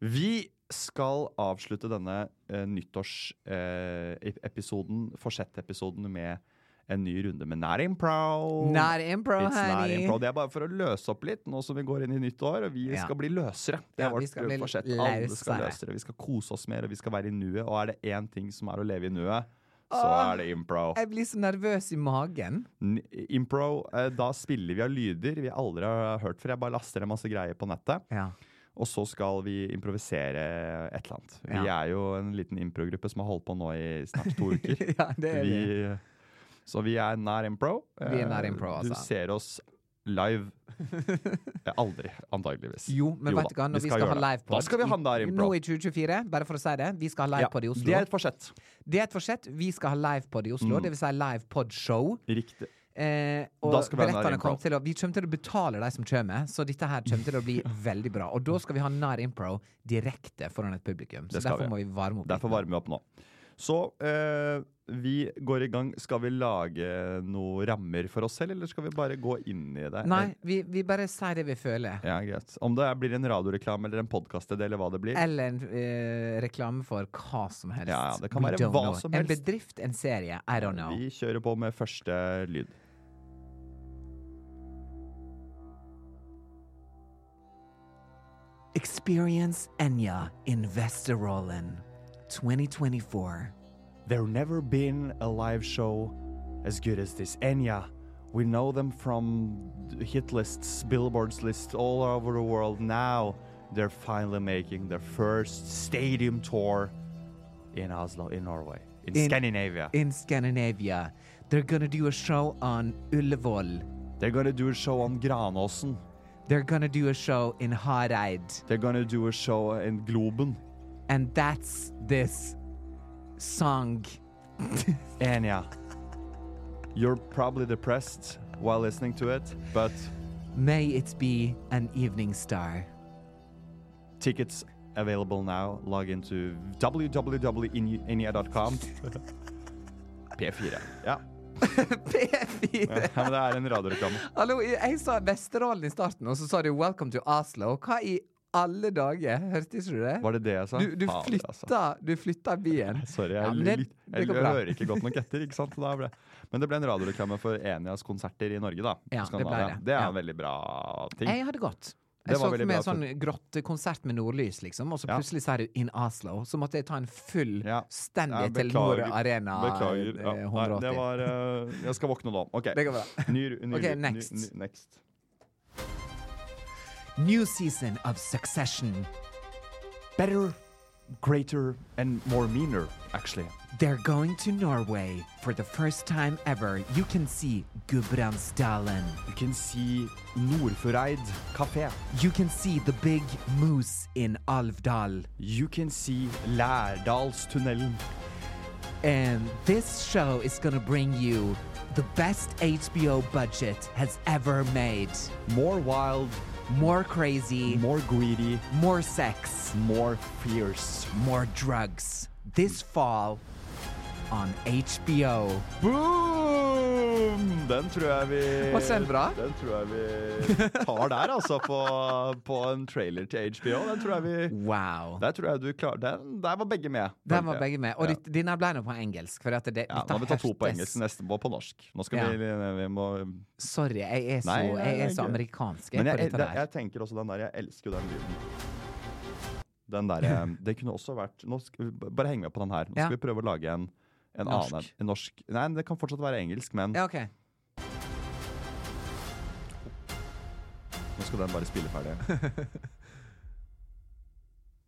S2: Vi skal avslutte denne eh, nyttårsepisoden, eh, episoden, forsettepisoden, med en ny runde med Not Impro.
S1: Not impro,
S2: Oh. It's not
S1: honey.
S2: impro. Det er bare for å løse opp litt, nå som vi går inn i nytt år. Og vi
S1: Ja.
S2: skal bli løsere. Det er
S1: Ja, vi
S2: vårt
S1: skal bli
S2: forsett. Alle skal
S1: løsere.
S2: løsere. Vi skal kose oss mer, og vi skal være i nuet. Og er det én ting som er å leve i nuet, så
S1: Åh.
S2: er det impro.
S1: Jeg blir så nervøs i magen.
S2: N- Impro, eh, da spiller vi av lyder vi aldri har hørt før. Jeg bare laster en masse greier på nettet.
S1: Ja.
S2: Og så skal vi improvisere et eller annet. Vi
S1: Ja.
S2: er jo en liten improgruppe som har holdt på nå i snart to uker.
S1: ja, det er vi.
S2: vi, så vi er nær impro.
S1: Vi er nær
S2: Eh,
S1: impro,
S2: Du
S1: altså.
S2: ser oss live. Eh, Aldri, antageligvis.
S1: Jo, men
S2: Jo
S1: vet du
S2: da,
S1: hva, når vi skal,
S2: gjøre
S1: ha
S2: det.
S1: livepod
S2: Da skal vi ha nær impro.
S1: Nå i 2024, bare for å si det, vi skal ha
S2: Ja,
S1: livepod i Oslo.
S2: Det er et forsett.
S1: Det er et forsett. Vi skal ha livepod i Oslo, det vil si livepodshow.
S2: Riktig.
S1: Eh,
S2: Da
S1: og
S2: skal vi ha
S1: billettene
S2: Nær
S1: kom
S2: Impro.
S1: til å Vi kommer til å betale de som kommer, så dette her kommer til å bli veldig bra. Og da skal vi ha Nær Impro direkte foran et publikum. Så
S2: Det skal
S1: derfor
S2: vi.
S1: må vi varme opp.
S2: Derfor
S1: litt nå.
S2: varmer vi opp nå. Så eh, vi går i gang. Skal vi lage noen rammer for oss selv, eller skal vi bare gå inn i det? Eh,
S1: Nei, vi, vi bare sier det vi føler.
S2: Ja, greit. Om det blir en radioreklame eller en podkast eller hva det blir.
S1: Eller en eh, reklame for hva som helst.
S2: Ja, ja, det kan
S1: We
S2: være
S1: don't
S2: hva
S1: know.
S2: som
S1: En
S2: helst.
S1: bedrift, en serie. I don't know.
S2: Vi kjører på med første lyd.
S1: Experience Enya in Vesterålen 2024.
S2: There never been a live show as good as this. Enya, we know them from hit lists, billboards lists all over the world. Now they're finally making their first stadium tour in Oslo, in Norway, in,
S1: In-
S2: Scandinavia.
S1: In Scandinavia, they're gonna do a show on Ullevål.
S2: they're gonna do a show on Granåsen.
S1: They're gonna do a show in Hareid.
S2: They're gonna do a show in Globen.
S1: And that's this song.
S2: Enya, you're probably depressed while listening to it, but
S1: May it be an evening star.
S2: Tickets available now. Log into www.inia.com. P4. Ja.
S1: P4!
S2: ja, men det er en radioreklame.
S1: Hallo, jeg sa Vesterålen i starten, og så sa du 'Welcome to Oslo'. Hva i alle dager? Hørte ikke du det?
S2: Var det det jeg sa?
S1: Du, du,
S2: Faen,
S1: flytta,
S2: altså.
S1: du flytta byen.
S2: Sorry, jeg,
S1: Ja, men
S2: lyt-
S1: det-
S2: jeg,
S1: det går
S2: jeg
S1: bra.
S2: hører ikke godt nok etter. ikke sant? Da ble, men det ble en radioreklame for Enias konserter i Norge, da.
S1: Ja, det ble
S2: Skandinavia.
S1: det.
S2: det er
S1: Ja.
S2: en veldig bra ting.
S1: Jeg hadde gått.
S2: Det
S1: Jeg så
S2: var
S1: for
S2: veldig
S1: meg en
S2: bra
S1: sånn grottekonsert med nordlys, liksom, og så
S2: Ja.
S1: plutselig sa du 'In Oslo'. Så måtte jeg ta en full
S2: Ja.
S1: stendig
S2: Ja,
S1: til
S2: beklager.
S1: Nord Arena
S2: Beklager.
S1: eh,
S2: Ja. Nei,
S1: 180.
S2: det var eh, Jeg skal våkne nå. OK.
S1: Det går bra.
S2: Ny, ny,
S1: Ok,
S2: ny-
S1: next.
S2: Ny, next.
S1: New season of Succession.
S2: Better, greater and more meaner, actually.
S1: They're going to Norway for the first time ever. You can see Gudbrandsdalen.
S2: You can see Nordfjordeid kafé.
S1: You can see the big moose in Alvdal.
S2: You can see Lærdalstunnelen.
S1: And this show is gonna bring you the best HBO budget has ever made.
S2: More wild,
S1: More crazy,
S2: more greedy,
S1: more sex,
S2: more fierce.
S1: more drugs. This fall on HBO.
S2: Boom! Den tror jeg vi
S1: Var den bra?
S2: Den tror jeg vi tar der, altså, på, på en trailer til HBO. Den tror jeg vi
S1: Wow.
S2: Der tror jeg du klarer den, Der var begge med.
S1: Der
S2: følte
S1: var
S2: jeg.
S1: begge med. Og
S2: Ja.
S1: ditt- denne ble nå på engelsk. For at det,
S2: Ja,
S1: dette
S2: nå har vi tatt to på
S1: hørtes-
S2: engelsk, neste må på norsk. Nå skal
S1: Ja.
S2: vi, vi må
S1: Sorry, jeg er så,
S2: Nei, nei,
S1: jeg er
S2: nei,
S1: så
S2: ikke.
S1: amerikansk jeg,
S2: Men
S1: på
S2: jeg,
S1: dette
S2: jeg,
S1: der.
S2: jeg tenker også den der Jeg elsker jo den lyden. Den der, eh, det kunne også vært nå skal vi, b- Bare heng med på den her. Nå
S1: Ja.
S2: skal vi prøve å lage en, en
S1: Norsk.
S2: annen en norsk Nei, men det kan fortsatt være engelsk, men
S1: Ja, OK.
S2: nå skal den bare spille ferdig.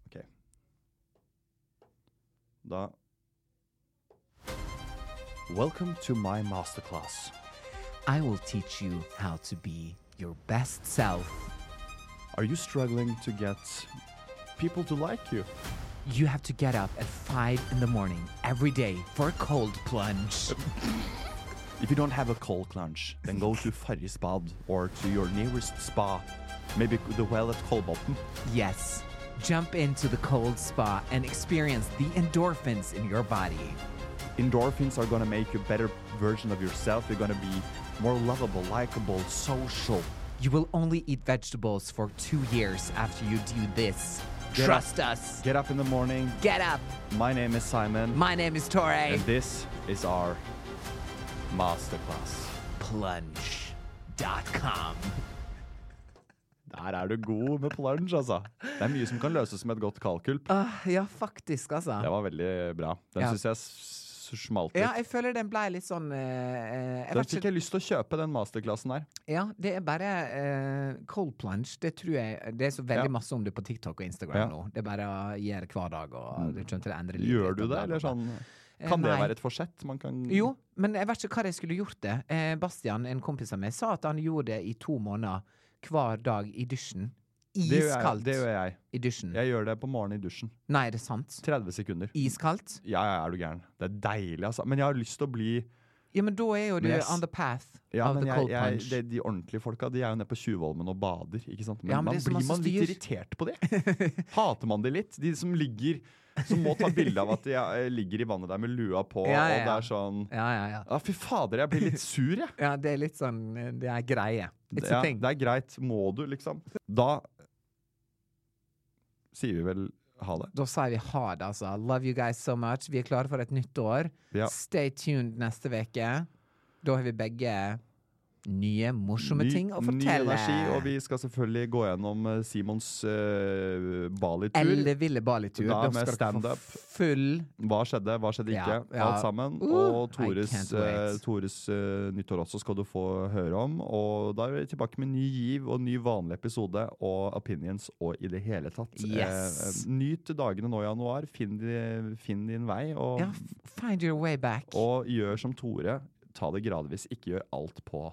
S2: OK. Da Welcome to my masterclass.
S1: I will teach you how to be your best self.
S2: Are you struggling to get people to like you?
S1: You have to get up at 5 in the morning every day for a cold plunge.
S2: If you don't have a cold plunge, then go to Farris bad or to your nearest spa. Maybe the well at Kolbotn.
S1: Yes. Jump into the cold spa and experience the endorphins in your body.
S2: Endorphins are gonna make you a better version of yourself. You're gonna be more lovable, likable, social.
S1: You will only eat vegetables for two years after you do this.
S2: Get
S1: Trust us.
S2: Get up in the morning.
S1: Get up.
S2: My name is Simon,
S1: My name is Torre.
S2: and this is our masterclass.
S1: Plunge.com.
S2: Der er du god med plunge, altså. Det er mye som kan løses med et godt kalkulp.
S1: Ah, ja, faktisk, altså.
S2: Det var veldig bra. Den
S1: Ja.
S2: synes jeg s- s- smalt
S1: Ja,
S2: litt.
S1: jeg føler den ble litt sånn eh, eh, jeg
S2: Den
S1: vet
S2: fikk jeg lyst til å kjøpe, den masterclassen her.
S1: Ja, det er bare eh, cold plunge. Det tror jeg Det er så veldig
S2: Ja.
S1: masse om det på TikTok og Instagram
S2: Ja. Mm.
S1: nå. Det er bare å gjøre hver dag, og du kommer til å endre litt.
S2: Gjør
S1: bla,
S2: du
S1: bla,
S2: det,
S1: bla,
S2: eller
S1: bla.
S2: sånn?
S1: Eh,
S2: Kan det
S1: nei.
S2: være et forsett? Man kan
S1: Jo, men jeg vet ikke hva jeg skulle gjort det. Eh, Bastian, en kompis av meg, sa at han gjorde det i to måneder hver dag i dusjen.
S2: det gjør, jeg,
S1: Iskaldt
S2: det gjør jeg.
S1: i dusjen.
S2: Jeg gjør det på morgenen i dusjen.
S1: Nei, er det sant?
S2: 30 sekunder.
S1: Iskaldt?
S2: Ja, ja, er du gæren. Det er deilig, altså. Men jeg har lyst til å bli
S1: Ja, men da er jo du
S2: Men jeg s-
S1: on the path
S2: Ja,
S1: of
S2: men
S1: the
S2: jeg,
S1: cold
S2: jeg,
S1: punch.
S2: det, de ordentlige folka de er jo nede på Tjuvholmen og bader. ikke sant? Men,
S1: Ja, men
S2: man
S1: det er så
S2: blir
S1: masse
S2: man litt
S1: styr.
S2: irritert på det? Hater man det litt? De som ligger Som må ta bilde av at de eh, ligger i vannet der med lua på,
S1: Ja, ja,
S2: og det
S1: ja.
S2: er sånn
S1: Ja, ja, ja.
S2: Ja, fy fader, jeg blir litt sur, jeg.
S1: ja, det er litt sånn eh, Det er greie. It's
S2: Ja,
S1: a thing.
S2: det er greit. Må du, liksom? Da sier vi vel ha det.
S1: Da sier vi ha det, altså. Love you guys so much. Vi er klare for et nytt år.
S2: Ja.
S1: Stay tuned neste uke. Da har vi begge nye, morsomme
S2: Ny-
S1: ting å
S2: Ny
S1: fortelle.
S2: energi, og vi skal selvfølgelig gå gjennom eh, Simons eh, Bali-tur.
S1: Elleville Bali-tur.
S2: Da
S1: Da
S2: med
S1: skal dere
S2: stand-up.
S1: få full
S2: Hva skjedde, hva skjedde ikke?
S1: Ja, ja.
S2: Alt sammen.
S1: Uh,
S2: og
S1: I
S2: Tores,
S1: can't
S2: eh,
S1: wait.
S2: Tores eh, nyttår også skal du få høre om. Og da er vi tilbake med ny giv og ny vanlig episode og opinions og i det hele tatt. Eh,
S1: Yes.
S2: eh, nyt dagene nå i januar. Finn, di- finn din vei, og,
S1: Ja, f- find your way back.
S2: og gjør som Tore. Ta det gradvis. Ikke gjør alt på